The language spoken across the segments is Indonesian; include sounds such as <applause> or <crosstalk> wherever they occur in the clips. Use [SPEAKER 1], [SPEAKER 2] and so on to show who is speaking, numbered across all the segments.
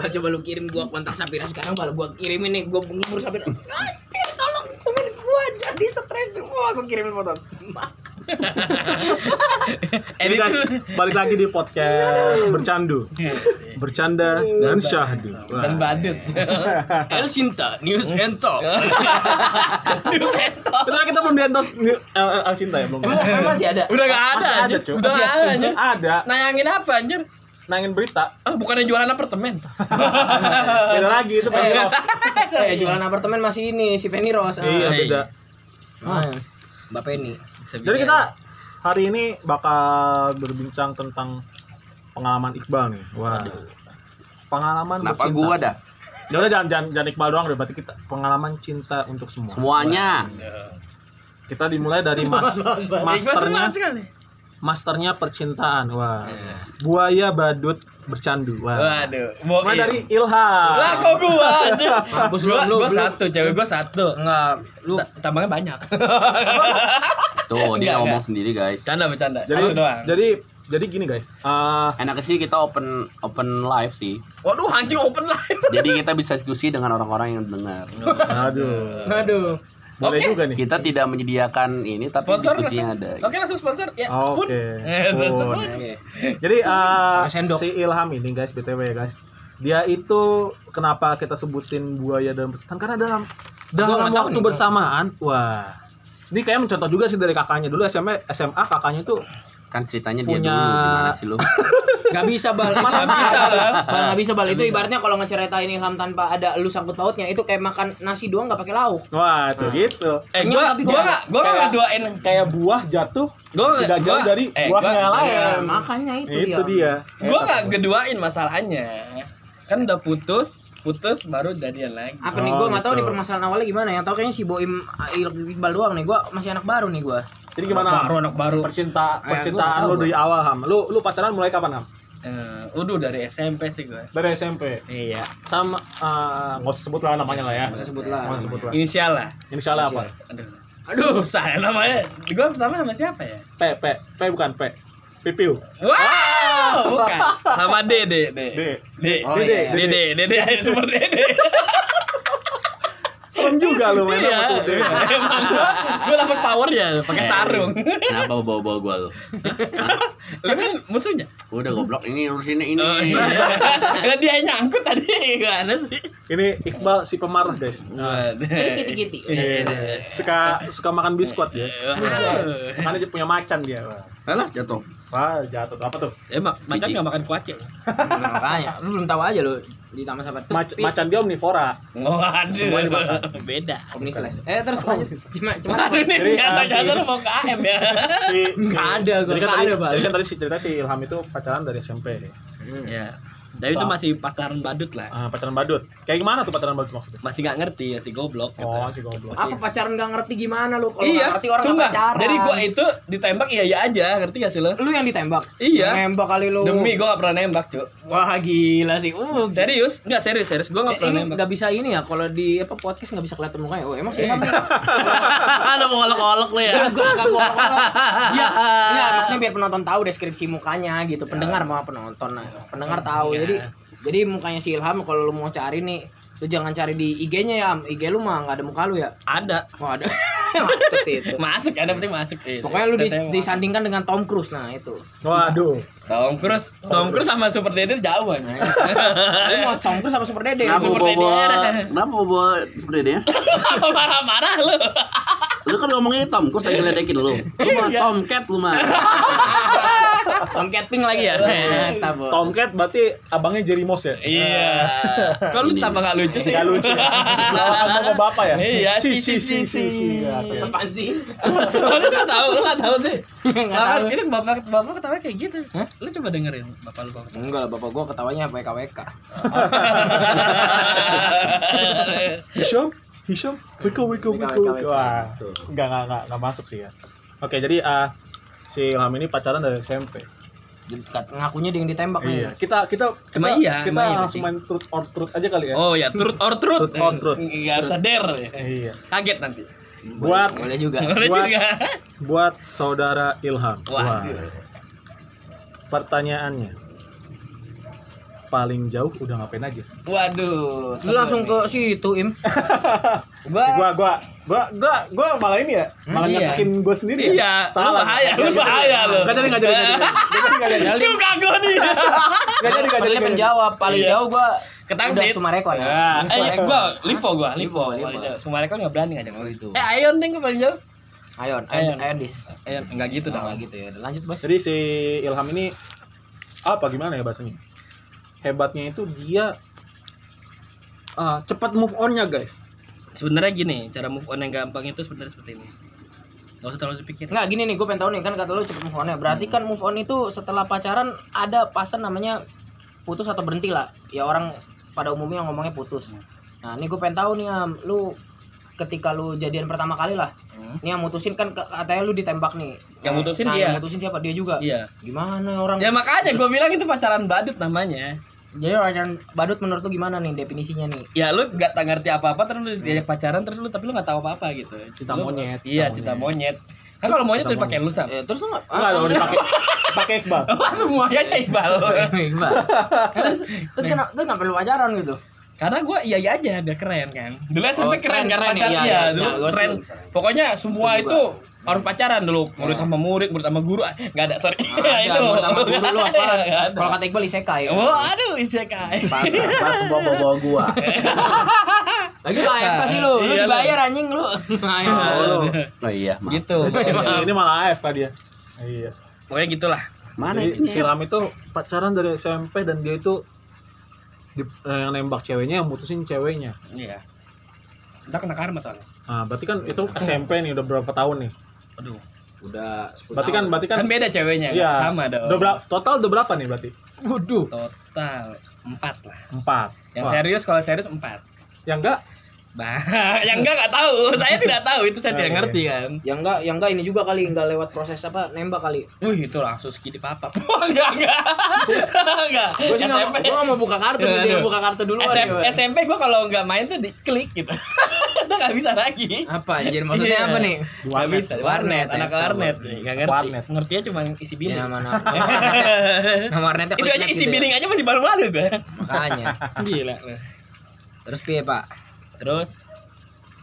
[SPEAKER 1] Bal coba lu kirim gua kontak Sapira sekarang bal gua kirimin nih gua ngumur Sapira. Anjir tolong temen gua jadi stres. Wah gua kirimin foto. <laughs>
[SPEAKER 2] Ini guys, balik lagi di podcast bercandu, bercanda dan syahdu. Wah.
[SPEAKER 3] dan
[SPEAKER 2] <laughs>
[SPEAKER 3] badut
[SPEAKER 1] El Sinta News Hento. News Hento.
[SPEAKER 2] Itu kan kita belum di endorse New- El El- El Cinta ya belum.
[SPEAKER 1] Emang emang masih ada?
[SPEAKER 3] udah gak ada
[SPEAKER 2] Masih ada,
[SPEAKER 3] anjir.
[SPEAKER 2] Cuk.
[SPEAKER 3] udah gak ada anjir.
[SPEAKER 2] Ada,
[SPEAKER 3] nayangin apa anjir
[SPEAKER 2] nangin
[SPEAKER 3] <laughs>
[SPEAKER 2] berita.
[SPEAKER 3] ah bukannya jualan apartemen
[SPEAKER 2] Beda lagi
[SPEAKER 3] Iya.
[SPEAKER 2] itu pasti
[SPEAKER 1] Eh,
[SPEAKER 2] lost.
[SPEAKER 1] Eh jualan apartemen masih ini si Penny Rose. Ah,
[SPEAKER 2] Iya, beda.
[SPEAKER 1] Ah, Mbak Penny.
[SPEAKER 2] Jadi kita hari ini bakal berbincang tentang pengalaman Iqbal nih. Wah. Pengalaman
[SPEAKER 4] Kenapa
[SPEAKER 2] bercinta.
[SPEAKER 4] gua dah?
[SPEAKER 2] Ya udah jangan, jangan jangan Iqbal doang deh, berarti kita pengalaman cinta untuk semua.
[SPEAKER 4] Semuanya.
[SPEAKER 2] Kita dimulai dari mas,
[SPEAKER 3] masternya
[SPEAKER 2] masternya
[SPEAKER 3] sekali
[SPEAKER 2] masternya percintaan. Wah. Buaya badut bercandu. Wah.
[SPEAKER 3] waduh
[SPEAKER 2] Mulai
[SPEAKER 3] bohong
[SPEAKER 2] dari Ilham.
[SPEAKER 3] lah kok gua anjir
[SPEAKER 1] Mampus lu,
[SPEAKER 3] gua,
[SPEAKER 1] lu,
[SPEAKER 3] gua
[SPEAKER 1] lu.
[SPEAKER 3] satu cewek gua satu
[SPEAKER 1] Enggak, lu
[SPEAKER 3] Ta- tambangnya banyak
[SPEAKER 4] Tuh,
[SPEAKER 3] Enggak,
[SPEAKER 4] dia ngomong
[SPEAKER 3] enggak.
[SPEAKER 4] sendiri, guys.
[SPEAKER 3] bercanda bercanda
[SPEAKER 2] Jadi
[SPEAKER 3] satu doang
[SPEAKER 2] jadi jadi gini guys. Ah,
[SPEAKER 4] Enaknya sih kita open open live sih.
[SPEAKER 3] waduh anjing open line
[SPEAKER 4] Jadi kita bisa diskusi dengan orang-orang yang dengar.
[SPEAKER 2] aduh.
[SPEAKER 1] aduh.
[SPEAKER 2] Boleh
[SPEAKER 3] Oke.
[SPEAKER 2] juga nih.
[SPEAKER 4] Kita tidak menyediakan ini tapi
[SPEAKER 3] sponsor
[SPEAKER 4] diskusinya ada.
[SPEAKER 3] langsung. oke langsung sponsor ya spoon
[SPEAKER 2] Ah, Oke.
[SPEAKER 3] Eh,
[SPEAKER 2] spoon.
[SPEAKER 3] spoon.
[SPEAKER 1] Oke.
[SPEAKER 2] Jadi eh,
[SPEAKER 1] Pakai sendok.
[SPEAKER 2] si Ilham ini guys, BTW ya guys. Dia itu kenapa kita sebutin buaya dalam percintaan karena dalam
[SPEAKER 1] Gua
[SPEAKER 2] dalam
[SPEAKER 1] nggak tahu
[SPEAKER 2] waktu
[SPEAKER 1] nih,
[SPEAKER 2] bersamaan, wah. Ini kayak mencontoh juga sih dari kakaknya dulu SMA SMA kakaknya itu
[SPEAKER 4] Kan ceritanya dia
[SPEAKER 2] Punya-
[SPEAKER 4] dulu gimana sih lu?
[SPEAKER 1] Gak bisa bal. Gak
[SPEAKER 3] bisa, Bal.
[SPEAKER 1] Bal gak bisa bal. Itu ibaratnya kalau ngeceritain Ilham tanpa ada lu sangkut pautnya itu kayak makan nasi doang gak pakai lauk.
[SPEAKER 2] wah
[SPEAKER 1] Ah.
[SPEAKER 2] tuh gitu.
[SPEAKER 3] eh
[SPEAKER 1] Kenyang
[SPEAKER 3] gua
[SPEAKER 1] tapi
[SPEAKER 3] gua
[SPEAKER 1] gua-
[SPEAKER 3] gak gua gak
[SPEAKER 2] kayak-
[SPEAKER 3] ngedoain
[SPEAKER 2] Kayak buah jatuh
[SPEAKER 3] gua
[SPEAKER 2] tidak
[SPEAKER 3] gua-
[SPEAKER 2] jauh dari
[SPEAKER 3] eh,
[SPEAKER 2] buah
[SPEAKER 3] gua-
[SPEAKER 2] yang lain.
[SPEAKER 1] Ya, makanya itu,
[SPEAKER 2] Itu dia.
[SPEAKER 3] gua gak geduain masalahnya kan udah putus putus baru jadian lagi
[SPEAKER 1] Apa nih
[SPEAKER 2] Oh,
[SPEAKER 1] gua nggak tahu nih
[SPEAKER 2] gitu.
[SPEAKER 1] permasalahan awalnya gimana ya. Tahu kayaknya si Boim Il- Iqbal doang nih. Gua masih anak baru nih gua.
[SPEAKER 2] Jadi gimana? Ham?
[SPEAKER 3] baru anak baru
[SPEAKER 2] Percinta
[SPEAKER 1] Eh,
[SPEAKER 2] percintaan
[SPEAKER 1] gua
[SPEAKER 2] lu
[SPEAKER 1] tahu,
[SPEAKER 2] dari awal Ham. Lu lu pacaran mulai kapan Ham?
[SPEAKER 3] Eh, udah dari SMP sih gua
[SPEAKER 2] Dari SMP.
[SPEAKER 3] iya
[SPEAKER 2] Sama eh, nggak usah sebut lah namanya lah ya.
[SPEAKER 1] Nggak usah sebut lah
[SPEAKER 2] Nggak usah sebut lah.
[SPEAKER 3] inisial lah
[SPEAKER 2] Inisialnya apa?
[SPEAKER 3] aduh aduh saya namanya gua pertama sama siapa ya
[SPEAKER 2] P P P bukan P. Pipiu.
[SPEAKER 3] wow bukan sama
[SPEAKER 2] D.
[SPEAKER 3] Dede Dede Dede
[SPEAKER 1] Oh, iya.
[SPEAKER 2] Dede.
[SPEAKER 3] Dede Dede super Dede
[SPEAKER 2] Serem juga lu main
[SPEAKER 3] iya
[SPEAKER 2] sama Sude.
[SPEAKER 3] <laughs> emang gua gua dapet power ya pakai
[SPEAKER 4] Eh,
[SPEAKER 3] sarung
[SPEAKER 4] Kenapa bawa-bawa gua lu?
[SPEAKER 3] lu kan musuhnya
[SPEAKER 4] Udah goblok ini urusin ini.
[SPEAKER 3] Oh,
[SPEAKER 4] <laughs>
[SPEAKER 3] iya. <laughs> Lah, dia yang nyangkut tadi <laughs> gimana sih
[SPEAKER 2] Ini Iqbal si pemarah guys.
[SPEAKER 3] Nah, <laughs>
[SPEAKER 1] Kiti-kiti.
[SPEAKER 2] Iya. Suka suka makan biskuit ya.
[SPEAKER 3] Iya. Wah.
[SPEAKER 2] Makanya dia punya macan dia.
[SPEAKER 4] Alah jatuh.
[SPEAKER 2] Wah, jatuh tuh apa tuh?
[SPEAKER 3] Emang macan nggak makan kuaci?
[SPEAKER 1] Nah, makanya lu belum tahu aja lu di taman sahabat. Terus,
[SPEAKER 2] Mac-
[SPEAKER 1] pi-
[SPEAKER 2] macan dia omnivora. Semuanya dimakan.
[SPEAKER 3] Beda.
[SPEAKER 1] Omnisles. Eh terus lanjut. Cuma cuma apa?
[SPEAKER 3] Aduh nih
[SPEAKER 2] Jadi,
[SPEAKER 3] biasa
[SPEAKER 2] eh, si-
[SPEAKER 3] jatuh lu mau ke AM ya. <laughs>
[SPEAKER 2] Si, si
[SPEAKER 1] Nggak ada, gua.
[SPEAKER 2] Jadi kan
[SPEAKER 1] Nggak
[SPEAKER 2] tadi,
[SPEAKER 1] ada, Pak.
[SPEAKER 2] jadi kan tadi si cerita si Ilham itu pacaran dari SMP.
[SPEAKER 1] Hmm.
[SPEAKER 3] Ya. Tapi itu masih pacaran badut lah.
[SPEAKER 2] Ah, pacaran badut. Kayak gimana tuh pacaran badut maksudnya?
[SPEAKER 3] Masih nggak ngerti ya si goblok gitu.
[SPEAKER 2] Oh, si goblok.
[SPEAKER 1] apa pacaran gak ngerti gimana lu kalau nggak
[SPEAKER 3] iya,
[SPEAKER 1] ngerti orang
[SPEAKER 3] sumpah.
[SPEAKER 1] nggak pacaran.
[SPEAKER 3] Jadi gua itu ditembak iya iya aja, ngerti gak sih lo?
[SPEAKER 1] lu yang ditembak.
[SPEAKER 3] Iya.
[SPEAKER 1] Yang Nembak kali lu.
[SPEAKER 3] Demi gua gak pernah nembak, Cuk.
[SPEAKER 1] Wah gila sih.
[SPEAKER 2] Oh,
[SPEAKER 1] Uh,
[SPEAKER 3] Serius? Enggak serius, serius. Gua
[SPEAKER 1] Eh,
[SPEAKER 3] gak pernah
[SPEAKER 1] ini
[SPEAKER 3] nembak.
[SPEAKER 1] nggak bisa ini ya kalau di apa podcast nggak bisa kelihatan mukanya. Oh, emang sih Ilham nih.
[SPEAKER 3] Ada mau olok-olok lu
[SPEAKER 4] ya?
[SPEAKER 1] Gua agak gua <laughs> Iya, iya maksudnya biar penonton tahu deskripsi mukanya gitu. Pendengar mau penonton. Nah, pendengar tahu. Jadi jadi mukanya si Ilham kalau lu mau cari nih lu jangan cari di IG-nya ya. Am. IG lu mah nggak ada muka lu ya.
[SPEAKER 3] Ada.
[SPEAKER 1] Wah, <laughs> ada. Masuk sih itu.
[SPEAKER 3] Masuk, ada penting masuk. Iya.
[SPEAKER 1] Pokoknya lu di-
[SPEAKER 3] Saya mau-
[SPEAKER 1] disandingkan dengan Tom Cruise nah <laughs> itu.
[SPEAKER 2] Waduh.
[SPEAKER 3] Tom Cruise, Tom Cruise sama Super Dede jauh anjing.
[SPEAKER 1] Lu mau Tom Cruise apa Nah, Super Dede?
[SPEAKER 4] Kenapa
[SPEAKER 3] Super
[SPEAKER 4] bawa
[SPEAKER 3] Dede.
[SPEAKER 4] Kenapa bawa seperti ini ya?
[SPEAKER 3] Apa marah-marah lu?
[SPEAKER 4] Lu kan ngomongnya Tom, gua saya ngeledekin lu. Lu mah
[SPEAKER 3] Iya.
[SPEAKER 4] Tomcat lu mah.
[SPEAKER 1] Tom Cat Pink lagi ya. Nah, tabok.
[SPEAKER 2] Tomcat berarti abangnya Jerry Moss ya?
[SPEAKER 3] Iya. Kalau lu
[SPEAKER 4] Ini.
[SPEAKER 3] tambah gak lucu sih.
[SPEAKER 2] Gak lucu.
[SPEAKER 3] <laughs>
[SPEAKER 2] ya? Lawan sama bapak ya?
[SPEAKER 3] Iya,
[SPEAKER 2] Si
[SPEAKER 3] si,
[SPEAKER 2] si si
[SPEAKER 3] si,
[SPEAKER 2] si. si. Ya, tuh.
[SPEAKER 1] Apaan sih?
[SPEAKER 3] Oh, lu gak tahu, lu gak tahu sih.
[SPEAKER 1] Nggak
[SPEAKER 3] Lah,
[SPEAKER 1] tahu.
[SPEAKER 3] Ini bapak bapak ketawa kayak gitu. Lu coba dengerin bapak lu bapak.
[SPEAKER 1] Enggak lah, bapak gua ketawanya WKWK.
[SPEAKER 2] Hisham, Hisham, wiko wiko
[SPEAKER 1] Wika, Wika,
[SPEAKER 2] wiko.
[SPEAKER 1] Wika.
[SPEAKER 2] Wah, nggak nggak nggak nggak masuk sih ya. Oke, jadi ah si Ilham ini pacaran dari SMP.
[SPEAKER 1] Dekat ngakunya dia yang ditembak nih.
[SPEAKER 2] Kita kita kita,
[SPEAKER 3] Emang iya,
[SPEAKER 2] kita
[SPEAKER 3] emang iya
[SPEAKER 2] langsung
[SPEAKER 3] sih.
[SPEAKER 2] main truth or truth aja kali ya.
[SPEAKER 3] Oh ya, truth or truth.
[SPEAKER 2] Truth or truth.
[SPEAKER 3] Enggak usah dare.
[SPEAKER 2] Iya.
[SPEAKER 3] Kaget nanti.
[SPEAKER 2] Buat
[SPEAKER 1] Boleh <laughs> juga.
[SPEAKER 3] Boleh
[SPEAKER 2] Buat-
[SPEAKER 3] juga.
[SPEAKER 2] buat saudara Ilham.
[SPEAKER 3] Wah.
[SPEAKER 2] Pertanyaannya. paling jauh udah ngapain aja?
[SPEAKER 3] Waduh.
[SPEAKER 1] Lu langsung ke situ, <laughs> Im.
[SPEAKER 3] gua.
[SPEAKER 2] Gua gua gua gua gua malah ini ya, malah
[SPEAKER 3] iya.
[SPEAKER 2] nyakitin gua sendiri. ya?
[SPEAKER 3] Iya, lu
[SPEAKER 2] Salah.
[SPEAKER 3] bahaya, lu
[SPEAKER 2] Nggak jadi,
[SPEAKER 3] bahaya, lu.
[SPEAKER 2] nggak jadi, nggak jadi, nggak jadi. Nggak jadi, nggak jadi.
[SPEAKER 3] Suka gua nih.
[SPEAKER 2] Nggak jadi, nggak jadi,
[SPEAKER 1] Padahal
[SPEAKER 2] nggak jadi.
[SPEAKER 1] menjawab paling
[SPEAKER 3] Iya.
[SPEAKER 1] jauh gua
[SPEAKER 3] Ketangsit.
[SPEAKER 1] udah Sumarekon ya.
[SPEAKER 3] Ah, eh,
[SPEAKER 1] Sumarekon.
[SPEAKER 3] gua lipo gua, lipo.
[SPEAKER 1] Lipo, Lipo.
[SPEAKER 3] lipo. Sumarekon enggak kan berani ngajak
[SPEAKER 4] Oh,
[SPEAKER 3] gua.
[SPEAKER 4] gitu.
[SPEAKER 3] Eh, Ayon deh gua paling jauh.
[SPEAKER 1] Ayon, ayon,
[SPEAKER 3] Ayon.
[SPEAKER 1] ayon dis.
[SPEAKER 3] Ayon enggak gitu
[SPEAKER 1] Udah
[SPEAKER 3] dong.
[SPEAKER 1] gitu ya. Lanjut, Bos.
[SPEAKER 2] Jadi si Ilham ini apa gimana ya bahasanya? Hebatnya itu dia ah, cepat move on-nya, guys.
[SPEAKER 3] Sebenarnya gini, cara move on yang gampang itu sebenarnya seperti ini. Gak usah terlalu dipikir.
[SPEAKER 1] Nggak gini nih, gue pengen tahu nih kan kata lu cepet move on ya. Berarti kan move on itu setelah pacaran ada pasan namanya putus atau berhenti lah. Ya orang pada umumnya ngomongnya putus.
[SPEAKER 3] Hmm.
[SPEAKER 1] Nah ini gue pengen tahu nih Am, lu ketika lu jadian pertama kali lah.
[SPEAKER 3] Hmm.
[SPEAKER 1] Nih yang mutusin kan ke- katanya lu ditembak nih.
[SPEAKER 3] Yang mutusin
[SPEAKER 1] nah,
[SPEAKER 3] dia.
[SPEAKER 1] Yang mutusin siapa dia juga.
[SPEAKER 3] Iya.
[SPEAKER 1] Gimana orang?
[SPEAKER 3] Ya makanya gua bilang itu pacaran badut namanya.
[SPEAKER 1] Jadi orang badut menurut lu gimana nih definisinya nih?
[SPEAKER 3] Ya lu gak tak ngerti apa-apa terus lu diajak pacaran terus lu tapi lu gak tahu apa-apa gitu.
[SPEAKER 2] Cinta
[SPEAKER 3] Lu-
[SPEAKER 2] monyet,
[SPEAKER 3] Iya,
[SPEAKER 2] cinta
[SPEAKER 3] cinta monyet. Kan kalau monyet tuh dipakai lu sam.
[SPEAKER 1] Eh, terus <laughs> lu nggak?
[SPEAKER 2] Enggak dong dipakai pakai Iqbal.
[SPEAKER 3] <laughs> Wah, semuanya ya Iqbal. <laughs>
[SPEAKER 1] terus terus kenapa terus nggak perlu pacaran gitu?
[SPEAKER 3] Karena gua iya iya aja biar keren kan. Dulu SMP keren,
[SPEAKER 1] Oh, keren,
[SPEAKER 3] kan
[SPEAKER 1] keren, iya,
[SPEAKER 3] pacar iya,
[SPEAKER 1] iya.
[SPEAKER 3] dulu
[SPEAKER 1] Nah, gua
[SPEAKER 3] tren.
[SPEAKER 1] setuju.
[SPEAKER 3] Pokoknya semua
[SPEAKER 1] Setuju
[SPEAKER 3] itu harus pacaran dulu. Murid sama murid, murid sama guru. <laughs> Ah, Enggak ada, sorry.
[SPEAKER 1] Nggak
[SPEAKER 3] Ya
[SPEAKER 1] ada,
[SPEAKER 3] itu.
[SPEAKER 1] menurut sama guru lu apa?
[SPEAKER 3] <laughs> Nggak ada.
[SPEAKER 1] Kalau kata Iqbal isekai.
[SPEAKER 3] Oh, aduh, isekai.
[SPEAKER 4] Pas bawa-bawa gua.
[SPEAKER 1] Lagi lu AFK sih lu, lu
[SPEAKER 3] Iya, lu. Iya,
[SPEAKER 1] dibayar anjing lu. AFK lu.
[SPEAKER 2] Oh,
[SPEAKER 4] Oh iya, maaf.
[SPEAKER 3] Gitu.
[SPEAKER 2] si ini malah AFK dia. Iya.
[SPEAKER 3] Pokoknya gitulah.
[SPEAKER 4] Mana
[SPEAKER 2] Jadi
[SPEAKER 4] itu?
[SPEAKER 2] si Ram itu pacaran dari SMP dan dia itu di- eh, yang nembak ceweknya yang mutusin ceweknya.
[SPEAKER 3] Iya. Udah kena karma soalnya.
[SPEAKER 2] Nah, berarti kan itu SMP nih udah berapa tahun nih?
[SPEAKER 3] Aduh.
[SPEAKER 1] Udah 10
[SPEAKER 2] Berarti kan berarti kan
[SPEAKER 3] Kan beda ceweknya,
[SPEAKER 2] iya.
[SPEAKER 3] nggak sama dong.
[SPEAKER 2] Udah berapa total udah berapa nih berarti?
[SPEAKER 1] waduh.
[SPEAKER 3] Total empat lah.
[SPEAKER 2] Empat.
[SPEAKER 3] Yang
[SPEAKER 2] Wah,
[SPEAKER 3] serius kalau serius empat.
[SPEAKER 2] Yang enggak
[SPEAKER 3] Bah, <laughs> yang enggak enggak tahu. Saya tidak tahu, itu
[SPEAKER 1] Iya,
[SPEAKER 3] saya tidak
[SPEAKER 2] Oke.
[SPEAKER 3] ngerti kan.
[SPEAKER 1] Yang Ya enggak yang enggak ini juga kali enggak lewat proses apa nembak kali.
[SPEAKER 3] Wih, itu langsung skip di <laughs> papap. enggak enggak. <laughs> enggak.
[SPEAKER 1] Gue sih enggak
[SPEAKER 3] SMP.
[SPEAKER 1] gua nggak mau buka kartu
[SPEAKER 3] Iya,
[SPEAKER 1] dia
[SPEAKER 3] aduh.
[SPEAKER 1] buka kartu dulu.
[SPEAKER 3] SM SMP gua kalau enggak main tuh diklik gitu. <laughs> Udah enggak bisa lagi.
[SPEAKER 1] Apa anjir maksudnya
[SPEAKER 3] Iya.
[SPEAKER 1] apa nih?
[SPEAKER 3] Enggak
[SPEAKER 2] Ah, Warnet.
[SPEAKER 3] bisa. Warnet,
[SPEAKER 1] Warnet,
[SPEAKER 3] anak
[SPEAKER 1] ya.
[SPEAKER 3] warnet. Enggak ngerti.
[SPEAKER 2] Warnet.
[SPEAKER 3] Ngertinya cuma isi
[SPEAKER 1] Ya
[SPEAKER 3] <laughs> billing.
[SPEAKER 1] nama <laughs> nama warnetnya- nama warnetnya
[SPEAKER 3] itu aja
[SPEAKER 1] klik-klik gitu
[SPEAKER 3] isi
[SPEAKER 1] ya. Ah.
[SPEAKER 3] billing aja masih malu-malu gua.
[SPEAKER 1] Makanya.
[SPEAKER 3] Gila.
[SPEAKER 1] Terus piye, Pak?
[SPEAKER 3] Terus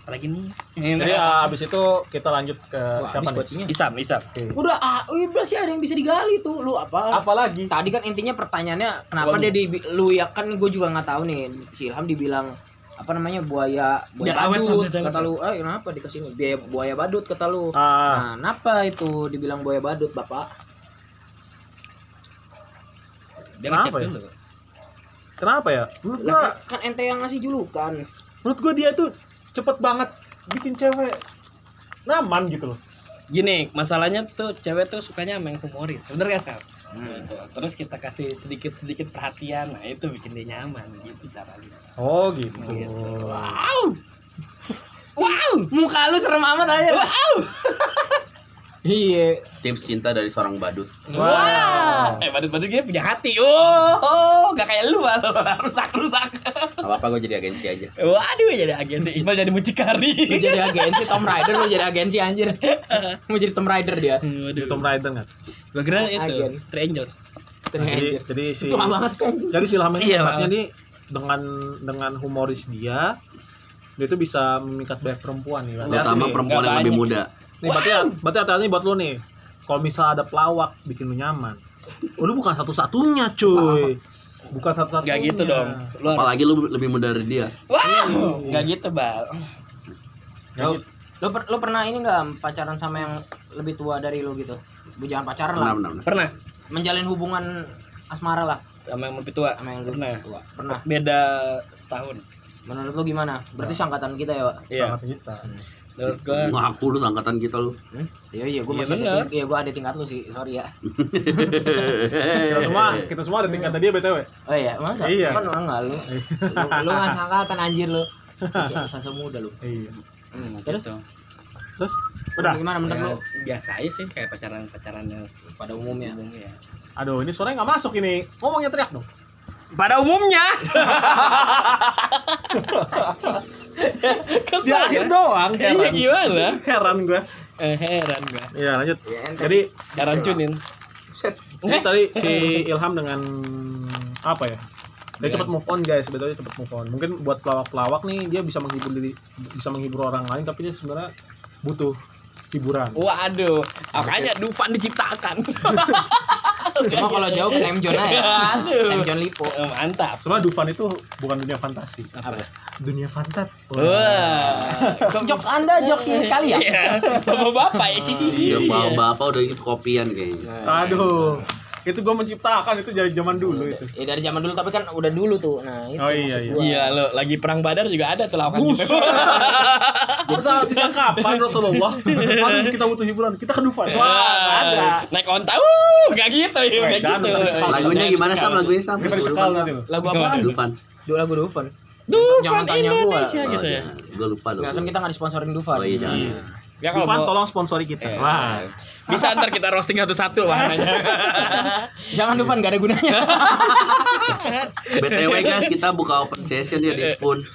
[SPEAKER 3] apalagi nih?
[SPEAKER 1] Iya.
[SPEAKER 2] Jadi
[SPEAKER 3] Iya.
[SPEAKER 2] ah, abis itu kita lanjut ke
[SPEAKER 1] Wah, habis
[SPEAKER 2] siapa nih?
[SPEAKER 1] bocinya.
[SPEAKER 3] Isam, Isam.
[SPEAKER 1] Udah ah, wih, berarti ada yang bisa digali tuh. Lu apa?
[SPEAKER 2] Apa lagi?
[SPEAKER 1] Tadi kan intinya pertanyaannya kenapa dia di lu ya kan gue juga nggak tahu nih si Ilham dibilam apa namanya buaya buaya
[SPEAKER 3] Biar awet
[SPEAKER 1] badut
[SPEAKER 3] sampai dalam.
[SPEAKER 1] kata lu eh kenapa dikasih ini biaya buaya badut kata lu
[SPEAKER 2] Ah,
[SPEAKER 1] nah kenapa itu dibilang buaya badut bapak
[SPEAKER 3] Dia
[SPEAKER 2] Kenapa
[SPEAKER 3] ngecek
[SPEAKER 2] ya?
[SPEAKER 3] dulu.
[SPEAKER 2] kenapa ya? Menurut gua,
[SPEAKER 1] Lah, kan ente yang ngasih julukan
[SPEAKER 2] menurut gua dia tuh cepet banget bikin cewek nyaman gitu loh.
[SPEAKER 3] Gini, masalahnya tuh cewek tuh sukanya sama yang humoris. Bener gak, Sal?
[SPEAKER 1] Hmm.
[SPEAKER 3] Gitu. Terus kita kasih sedikit-sedikit perhatian, nah itu bikin dia nyaman gitu caranya.
[SPEAKER 2] Oh gitu.
[SPEAKER 3] Wow. Wow.
[SPEAKER 1] muka lu serem amat aja
[SPEAKER 3] Wow.
[SPEAKER 1] iya
[SPEAKER 4] Tips cinta dari seorang badut.
[SPEAKER 2] Wow.
[SPEAKER 3] Wah. Eh, badut-badut gini punya hati. Oh, oh, gak kayak lu, Bal. <laughs> Rusak-rusak.
[SPEAKER 4] Gak apa-apa gue jadi agensi aja.
[SPEAKER 3] Waduh, jadi agensi. Iqbal jadi
[SPEAKER 1] lu
[SPEAKER 3] mucikari.
[SPEAKER 1] jadi agensi Tom Rider lu jadi agensi anjir mau jadi Tom Rider dia
[SPEAKER 2] Di
[SPEAKER 3] Waduh.
[SPEAKER 2] Tomb Raider nggak?
[SPEAKER 3] Gue kira
[SPEAKER 1] Agen.
[SPEAKER 3] itu Three Angels.
[SPEAKER 1] Tuh,
[SPEAKER 2] kan? Jadi,
[SPEAKER 1] anjir
[SPEAKER 2] jadi si
[SPEAKER 1] tua banget kan
[SPEAKER 2] jadi si Ilham ini
[SPEAKER 3] Iya,
[SPEAKER 2] hebatnya
[SPEAKER 3] Bang.
[SPEAKER 2] nih dengan dengan humoris dia dia tuh bisa memikat banyak perempuan nih. Berarti
[SPEAKER 4] Terutama
[SPEAKER 2] nih,
[SPEAKER 4] perempuan
[SPEAKER 3] nggak
[SPEAKER 4] yang lebih
[SPEAKER 3] banyak.
[SPEAKER 4] muda.
[SPEAKER 2] nih berarti berarti hati-hati buat lo nih. Kalau misalnya ada pelawak bikin lu nyaman. Oh, lu bukan satu-satunya, cuy. Bukan satu-satunya.
[SPEAKER 3] Gak gitu dong. Lu harus-
[SPEAKER 4] Apalagi lu lebih muda dari dia.
[SPEAKER 3] Wow. Gak gitu, Bal.
[SPEAKER 1] Lu, lu, per- lu pernah ini nggak pacaran sama yang lebih tua dari lu gitu? Bu jangan pacaran lah.
[SPEAKER 4] Benar, benar, benar.
[SPEAKER 3] Pernah
[SPEAKER 1] Menjalin hubungan asmara lah
[SPEAKER 3] sama yang lebih tua.
[SPEAKER 1] sama yang
[SPEAKER 3] Pernah.
[SPEAKER 1] lebih tua. Pernah.
[SPEAKER 3] Beda setahun.
[SPEAKER 1] Menurut lu gimana? Berarti seangkatan kita ya, Pak?
[SPEAKER 3] Iya.
[SPEAKER 2] Sangat kita.
[SPEAKER 3] Menurut gua
[SPEAKER 4] Ngaku lu angkatan kita lu.
[SPEAKER 1] Hmm? Iya iya, gua
[SPEAKER 3] Iya,
[SPEAKER 1] masih
[SPEAKER 3] bener.
[SPEAKER 1] ada ting- iya gua ada tingkat lu sih. Sorry ya.
[SPEAKER 2] Kita semua, kita semua ada ya, tingkatan dia BTW.
[SPEAKER 1] Oh iya, masa?
[SPEAKER 2] Iya.
[SPEAKER 1] Kan orang enggak lu. Lu, lu nggak seangkatan anjir lu. Sasa sasa muda lu.
[SPEAKER 2] Iya.
[SPEAKER 1] Hmm, terus
[SPEAKER 3] gitu.
[SPEAKER 2] Terus udah.
[SPEAKER 1] gimana menurut lu?
[SPEAKER 3] Ya, biasa aja sih kayak pacaran-pacaran yang s-
[SPEAKER 1] Pada umumnya.
[SPEAKER 3] umum ya.
[SPEAKER 2] Aduh, ini suaranya nggak masuk ini. Ngomongnya teriak dong.
[SPEAKER 3] Pada <laughs> umumnya.
[SPEAKER 2] Di
[SPEAKER 3] Kesel.
[SPEAKER 2] akhir doang.
[SPEAKER 3] Iya
[SPEAKER 2] Heran.
[SPEAKER 3] gimana?
[SPEAKER 2] Heran gue.
[SPEAKER 3] Eh, heran gua.
[SPEAKER 2] Iya, lanjut.
[SPEAKER 1] Ya, ente.
[SPEAKER 2] Jadi
[SPEAKER 3] Cara cunin. Eh.
[SPEAKER 2] Jadi tadi si Ilham dengan apa ya?
[SPEAKER 3] Iya.
[SPEAKER 2] Dia cepat move on guys, sebetulnya cepat move on. Mungkin buat pelawak-pelawak nih dia bisa menghibur diri, bisa menghibur orang lain, tapi dia sebenarnya butuh hiburan.
[SPEAKER 3] Waduh, makanya Dufan diciptakan.
[SPEAKER 1] Cuma kalau jauh ke time zone aja.
[SPEAKER 3] Aduh.
[SPEAKER 1] Time zone Lipo.
[SPEAKER 3] Eh, Mantap.
[SPEAKER 2] Sebenarnya Dufan itu bukan dunia fantasi,
[SPEAKER 1] Apa?
[SPEAKER 2] dunia fantat.
[SPEAKER 3] Wah.
[SPEAKER 1] Jokes Anda jokes ini sekali ya.
[SPEAKER 3] Iya. Bapak-bapak ya sih sih.
[SPEAKER 4] Iya, bapak, bapak udah itu kopian kayaknya.
[SPEAKER 2] Ah, Aduh, itu gue menciptakan itu dari zaman dulu itu.
[SPEAKER 1] Ya dari zaman dulu tapi kan udah dulu tuh. Nah, itu
[SPEAKER 2] gitu. Oh iya iya.
[SPEAKER 3] Iya lo, lagi perang Badar juga ada tuh lawakan <laughs> gitu.
[SPEAKER 2] Masa sejak kapan Rasulullah? Aduh kita butuh hiburan, kita ke
[SPEAKER 3] Iya.
[SPEAKER 2] Dufan.
[SPEAKER 3] Wah,
[SPEAKER 1] ada.
[SPEAKER 3] Naik onta, wuh, gak gitu ya,
[SPEAKER 2] Wah,
[SPEAKER 3] gak
[SPEAKER 2] jangan,
[SPEAKER 3] gitu.
[SPEAKER 2] dicekal.
[SPEAKER 4] Lagunya gimana sam? Lagunya sam?
[SPEAKER 2] Kita dicekal
[SPEAKER 3] kan
[SPEAKER 2] nanti
[SPEAKER 3] ya,
[SPEAKER 2] lo.
[SPEAKER 1] lagu apaan?
[SPEAKER 4] Dufan.
[SPEAKER 1] Dua lagu Dufan. Jangan
[SPEAKER 3] Dufan
[SPEAKER 1] tanya gua.
[SPEAKER 3] Indonesia
[SPEAKER 4] Oh,
[SPEAKER 3] gitu ya.
[SPEAKER 4] jangan. Gua lupa loh.
[SPEAKER 1] Enggak kan kita enggak disponsorin Dufan.
[SPEAKER 4] Oh iya jangan.
[SPEAKER 3] Gak kalau
[SPEAKER 2] Dufan
[SPEAKER 3] mau-
[SPEAKER 2] tolong sponsori kita.
[SPEAKER 3] Iya.
[SPEAKER 2] Wah.
[SPEAKER 3] Bisa ntar kita roasting satu-satu wahananya.
[SPEAKER 1] Jangan Dufan enggak ada gunanya.
[SPEAKER 4] BTW guys, kita buka open session ya di Spoon.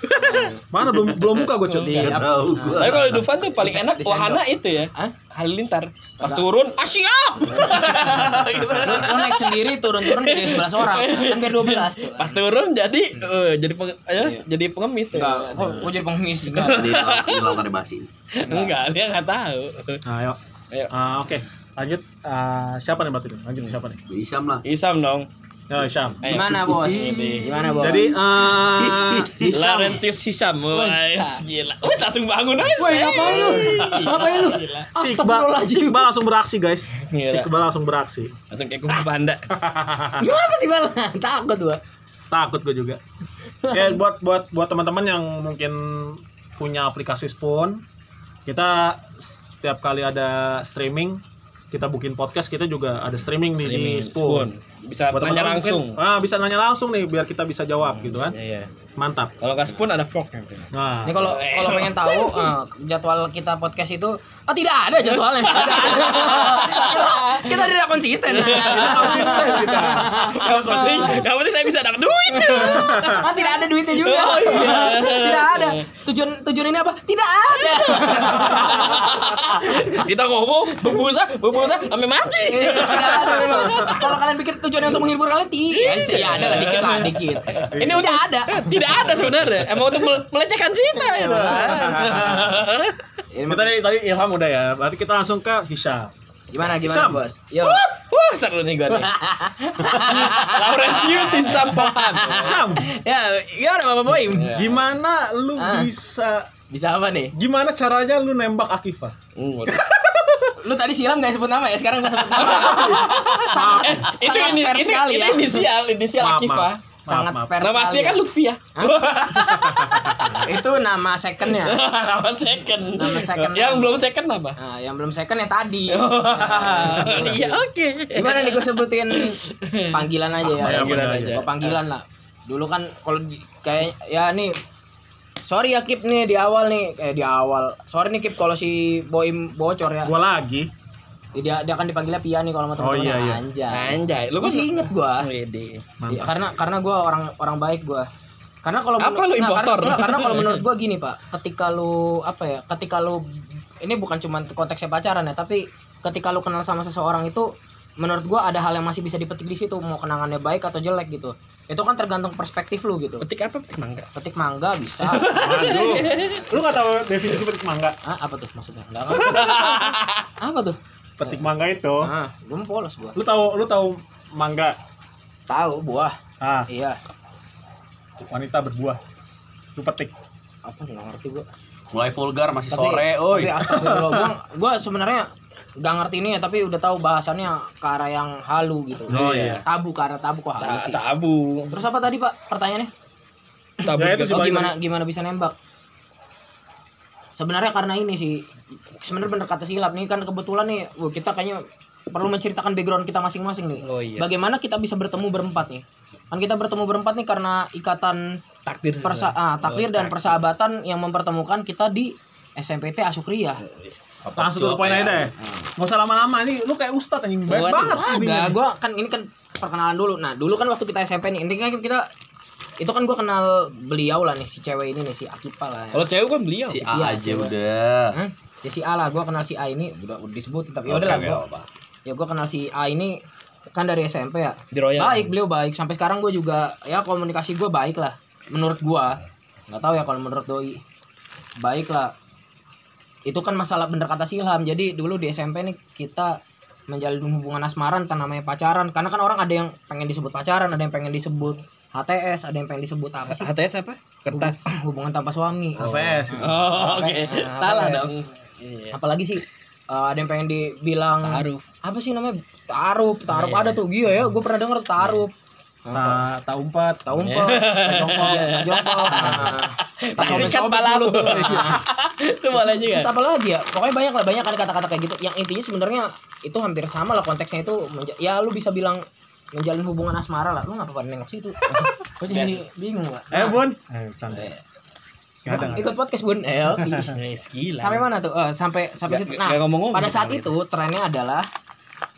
[SPEAKER 2] Mana belum belum buka gue
[SPEAKER 3] Iya.
[SPEAKER 2] cuy.
[SPEAKER 4] Gak tahu gua.
[SPEAKER 3] Tapi kalau Dufan tuh paling
[SPEAKER 1] Di-
[SPEAKER 3] enak
[SPEAKER 1] di sendok.
[SPEAKER 3] wahana itu ya.
[SPEAKER 1] Hah?
[SPEAKER 3] Halilintar.
[SPEAKER 1] Enggak.
[SPEAKER 3] Pas
[SPEAKER 1] Iya.
[SPEAKER 3] turun, "Ah, Asia.
[SPEAKER 1] Lu lu naik sendiri turun-turun jadi 11 orang. Kan biar 12 tuh.
[SPEAKER 3] Pas turun jadi eh, jadi peng- eh, jadi pengemis ya.
[SPEAKER 1] Hmm. Iya. Enggak, kok gua jadi pengemis enggak.
[SPEAKER 4] Ini lauk- ini lauknya basi.
[SPEAKER 3] Enggak, dia enggak tahu.
[SPEAKER 2] Nah, ayo.
[SPEAKER 3] Ayo.
[SPEAKER 2] Ah, oke. Lanjut Ah, siapa nih berarti? Lanjut siapa nih?
[SPEAKER 4] Isam lah.
[SPEAKER 3] Isam dong. Eh,
[SPEAKER 2] Ya, Syam.
[SPEAKER 3] Ayo.
[SPEAKER 1] Gimana, Bos?
[SPEAKER 3] Ini.
[SPEAKER 1] Gimana, Bos?
[SPEAKER 2] Jadi eh
[SPEAKER 3] <laughs> Laurentius Hisam. Wah,
[SPEAKER 1] Wes. ah.
[SPEAKER 3] gila. Wes langsung bangun aja.
[SPEAKER 1] Woi, ngapain lu? Ngapain lu?
[SPEAKER 3] Gila.
[SPEAKER 2] si Iqbal, si
[SPEAKER 1] Astagfirullahaladzim.
[SPEAKER 2] Iqbal langsung beraksi guys.
[SPEAKER 3] Gila.
[SPEAKER 2] Si Iqbal langsung beraksi.
[SPEAKER 3] Langsung kayak kumpul panda.
[SPEAKER 1] Gimana sih, Bal? Takut gua.
[SPEAKER 2] Takut gue juga. Ya
[SPEAKER 3] <laughs>
[SPEAKER 2] buat buat buat teman-teman yang mungkin punya aplikasi Spoon, kita setiap kali ada streaming kita bikin podcast kita juga ada streaming, nih di
[SPEAKER 3] Ini
[SPEAKER 2] Spoon.
[SPEAKER 3] spoon. Bisa
[SPEAKER 2] Buat
[SPEAKER 3] nanya
[SPEAKER 2] teman-teman mungkin-
[SPEAKER 3] langsung.
[SPEAKER 2] ah, bisa nanya langsung nih biar kita bisa jawab gitu kan.
[SPEAKER 3] Iya.
[SPEAKER 2] Mantap.
[SPEAKER 3] Kalau nggak spoon ada fork nanti.
[SPEAKER 2] Nah,
[SPEAKER 1] Ini kalau kalau pengen <laughs> tahu eh, jadwal kita podcast itu oh tidak ada jadwalnya. Tidak ada. kita, kita tidak konsisten.
[SPEAKER 2] konsisten kita.
[SPEAKER 3] <laughs> Yang penting, yang penting saya bisa dapat
[SPEAKER 1] <laughs>
[SPEAKER 3] duit.
[SPEAKER 1] Ah, tidak ada duitnya juga.
[SPEAKER 3] Oh, iya.
[SPEAKER 1] tidak ada. Tujuan tujuan ini apa? Tidak ada. <laughs>
[SPEAKER 3] Kita ngomong berbusa, berbusa sampai mati.
[SPEAKER 1] tidak ada memang. Kalau kalian pikir tujuannya untuk menghibur kalian, tidak. Ya ada lah dikit lah dikit. Ini udah ada.
[SPEAKER 3] Eh, Tidak ada sebenarnya. Emang untuk mele- melecehkan Sita ya, itu.
[SPEAKER 1] Ini
[SPEAKER 2] kita
[SPEAKER 1] mah-
[SPEAKER 2] tadi, tadi Ilham udah ya. Berarti kita langsung ke Hisham.
[SPEAKER 1] Gimana
[SPEAKER 2] Sam.
[SPEAKER 1] gimana bos? Yo.
[SPEAKER 3] <laughs>
[SPEAKER 1] <laughs>
[SPEAKER 3] Wah, seru nih gue nih. Laurentius Hisampahan.
[SPEAKER 2] Hisham,
[SPEAKER 1] ya gimana bapak boy?
[SPEAKER 3] Iya.
[SPEAKER 2] gimana lu
[SPEAKER 1] Ya. Ah.
[SPEAKER 2] bisa
[SPEAKER 1] Bisa apa nih?
[SPEAKER 2] gimana caranya lu nembak Akifa?
[SPEAKER 3] Hmm,
[SPEAKER 1] Lu tadi silam gak sebut nama ya? Sekarang gua sebut nama. <laughs> Eh, sangat
[SPEAKER 3] Eh, Itu
[SPEAKER 1] sangat
[SPEAKER 3] ini,
[SPEAKER 1] fair
[SPEAKER 3] ini,
[SPEAKER 1] sekali
[SPEAKER 3] ini
[SPEAKER 1] ya.
[SPEAKER 3] inisial, inisial Akifah.
[SPEAKER 1] sangat
[SPEAKER 2] maaf, maaf.
[SPEAKER 1] fair
[SPEAKER 3] Nama
[SPEAKER 1] sekali. ya.
[SPEAKER 3] aslinya kan Lutfiah.
[SPEAKER 1] Itu nama secondnya.
[SPEAKER 3] Nama second.
[SPEAKER 1] Nama second.
[SPEAKER 3] Yang belum second apa?
[SPEAKER 1] Nah, yang belum second yang <laughs> tadi.
[SPEAKER 3] Iya, oke.
[SPEAKER 1] Gimana nih gue sebutin panggilan aja ya.
[SPEAKER 3] Panggilan aja.
[SPEAKER 2] Iya.
[SPEAKER 1] Gua panggilan lah. Dulu kan kalau di- kayak ya nih Sorry ya Kip nih di awal nih eh di awal. Sorry nih Kip kalau si Boim bocor ya.
[SPEAKER 2] Gua lagi.
[SPEAKER 1] Dia dia akan dipanggilnya Pia nih kalau sama
[SPEAKER 2] Oh,
[SPEAKER 1] teman-temannya
[SPEAKER 2] iya, iya.
[SPEAKER 1] anjay.
[SPEAKER 3] Anjay, lu Ah,
[SPEAKER 1] Lu masih inget gua.
[SPEAKER 3] Wede.
[SPEAKER 1] Iya, karena karena gue orang orang baik gue. Karena kalau
[SPEAKER 3] Apa
[SPEAKER 1] menurut-
[SPEAKER 3] lu
[SPEAKER 1] nggak,
[SPEAKER 3] impostor?
[SPEAKER 1] Karena, nggak, karena kalau menurut
[SPEAKER 3] <laughs>
[SPEAKER 1] gue gini pak, ketika lu apa ya, ketika lu ini bukan cuma konteksnya pacaran ya, tapi ketika lu kenal sama seseorang itu menurut gue ada hal yang masih bisa dipetik di situ mau kenangannya baik atau jelek gitu. Itu kan tergantung perspektif lu gitu.
[SPEAKER 3] Petik apa? Petik mangga.
[SPEAKER 1] Petik mangga
[SPEAKER 3] <laughs>
[SPEAKER 1] bisa. <laughs>
[SPEAKER 2] Waduh. lu gak tahu definisi petik mangga?
[SPEAKER 1] Hah, Ah, apa tuh maksudnya? Nggak
[SPEAKER 3] <laughs>
[SPEAKER 1] ngerti. apa tuh?
[SPEAKER 2] Petik mangga itu.
[SPEAKER 1] Ah, gue mau polos gue.
[SPEAKER 2] Lu tahu lu tahu mangga?
[SPEAKER 1] Tahu buah.
[SPEAKER 2] Ah,
[SPEAKER 1] Iya.
[SPEAKER 2] wanita berbuah. Lu petik.
[SPEAKER 1] Apa nggak ngerti gue.
[SPEAKER 4] Mulai vulgar masih sore, oi.
[SPEAKER 1] tapi astagfirullah gua gua sebenarnya gak ngerti ini ya tapi udah tahu bahasannya ke arah yang halu gitu
[SPEAKER 2] Oh, iya.
[SPEAKER 1] tabu ke arah tabu kok halu
[SPEAKER 3] Nah, Ta-
[SPEAKER 1] sih
[SPEAKER 3] Ah, Tabu.
[SPEAKER 1] terus apa tadi pak pertanyaannya
[SPEAKER 3] Tabu.
[SPEAKER 2] Ya, itu
[SPEAKER 3] juga.
[SPEAKER 2] sih.
[SPEAKER 1] oh,
[SPEAKER 2] balik
[SPEAKER 1] gimana gimana bisa nembak sebenarnya karena ini sih sebenarnya bener kata silap nih kan kebetulan nih wah, kita kayaknya perlu menceritakan background kita masing-masing nih
[SPEAKER 3] Oh, iya.
[SPEAKER 1] bagaimana kita bisa bertemu berempat nih kan kita bertemu berempat nih karena ikatan
[SPEAKER 3] Takdir.
[SPEAKER 1] persa ah, takdir dan persahabatan yang mempertemukan kita di SMPT Asukriah
[SPEAKER 2] Langsung tuh poin
[SPEAKER 1] ya?
[SPEAKER 2] aja
[SPEAKER 1] Ah.
[SPEAKER 2] deh. Nggak usah lama-lama ini lu kayak ustad anjing baik
[SPEAKER 3] Buat-
[SPEAKER 2] banget ini.
[SPEAKER 1] Enggak, gua kan ini kan perkenalan dulu. Nah, dulu kan waktu kita SMP nih, intinya kan kita itu kan gua kenal beliau lah nih si cewek ini nih si Akipa lah. Ya.
[SPEAKER 3] Kalau cewek kan beliau.
[SPEAKER 4] Si
[SPEAKER 3] sih.
[SPEAKER 1] Iya,
[SPEAKER 4] A aja
[SPEAKER 1] sih,
[SPEAKER 4] udah.
[SPEAKER 1] Hmm? Ya si A lah, gua kenal si A ini udah udah disebutin tapi ya
[SPEAKER 4] Oke,
[SPEAKER 1] udah lah
[SPEAKER 4] oke,
[SPEAKER 1] gua.
[SPEAKER 4] apa-apa.
[SPEAKER 1] Ya gua kenal si A ini kan dari SMP ya
[SPEAKER 3] Di Royal.
[SPEAKER 1] baik beliau baik sampai sekarang gue juga ya komunikasi gue baik lah menurut gue nggak tahu ya kalau menurut doi baik lah itu kan masalah bener kata silham jadi dulu di SMP nih kita menjalin hubungan asmara entah namanya pacaran karena kan orang ada yang pengen disebut pacaran ada yang pengen disebut HTS ada yang pengen disebut apa sih
[SPEAKER 3] HTS apa? Kertas. Ah.
[SPEAKER 1] hubungan tanpa suami
[SPEAKER 2] HVS gitu.
[SPEAKER 3] Oh, oke.
[SPEAKER 1] Nah,
[SPEAKER 3] Salah
[SPEAKER 1] HTS.
[SPEAKER 3] dong. Iya.
[SPEAKER 1] apalagi sih eh, ada yang pengen dibilang
[SPEAKER 3] Ta'aruf. Iya.
[SPEAKER 1] apa sih namanya tarup tarup ada tuh gila ya gue pernah denger tarup
[SPEAKER 2] Ta, ta umpat
[SPEAKER 1] tahu Nah,
[SPEAKER 3] Iya.
[SPEAKER 1] umpel
[SPEAKER 3] <laughs>
[SPEAKER 1] jongkol jongkol
[SPEAKER 3] Sikat Iya. pala lu. Iya. Itu boleh juga.
[SPEAKER 1] Iya. terus apa lagi ya pokoknya banyak lah banyak ada kata-kata kayak gitu yang intinya sebenarnya itu hampir sama lah konteksnya itu menja- ya lu bisa bilang menjalin hubungan asmara lah lu ngapa pada nengok
[SPEAKER 3] <laughs>
[SPEAKER 1] situ gue jadi bingung lah
[SPEAKER 2] Eh bun. Eh canda. Nggak ada, nggak
[SPEAKER 1] ikut podcast bun eh, oke.
[SPEAKER 3] Guys, gila.
[SPEAKER 1] sampai mana tuh Eh, sampai sampai situ
[SPEAKER 3] Nggak- nggak ngomong-ngomong
[SPEAKER 1] pada
[SPEAKER 3] gitu
[SPEAKER 1] saat
[SPEAKER 3] kali
[SPEAKER 1] itu trennya adalah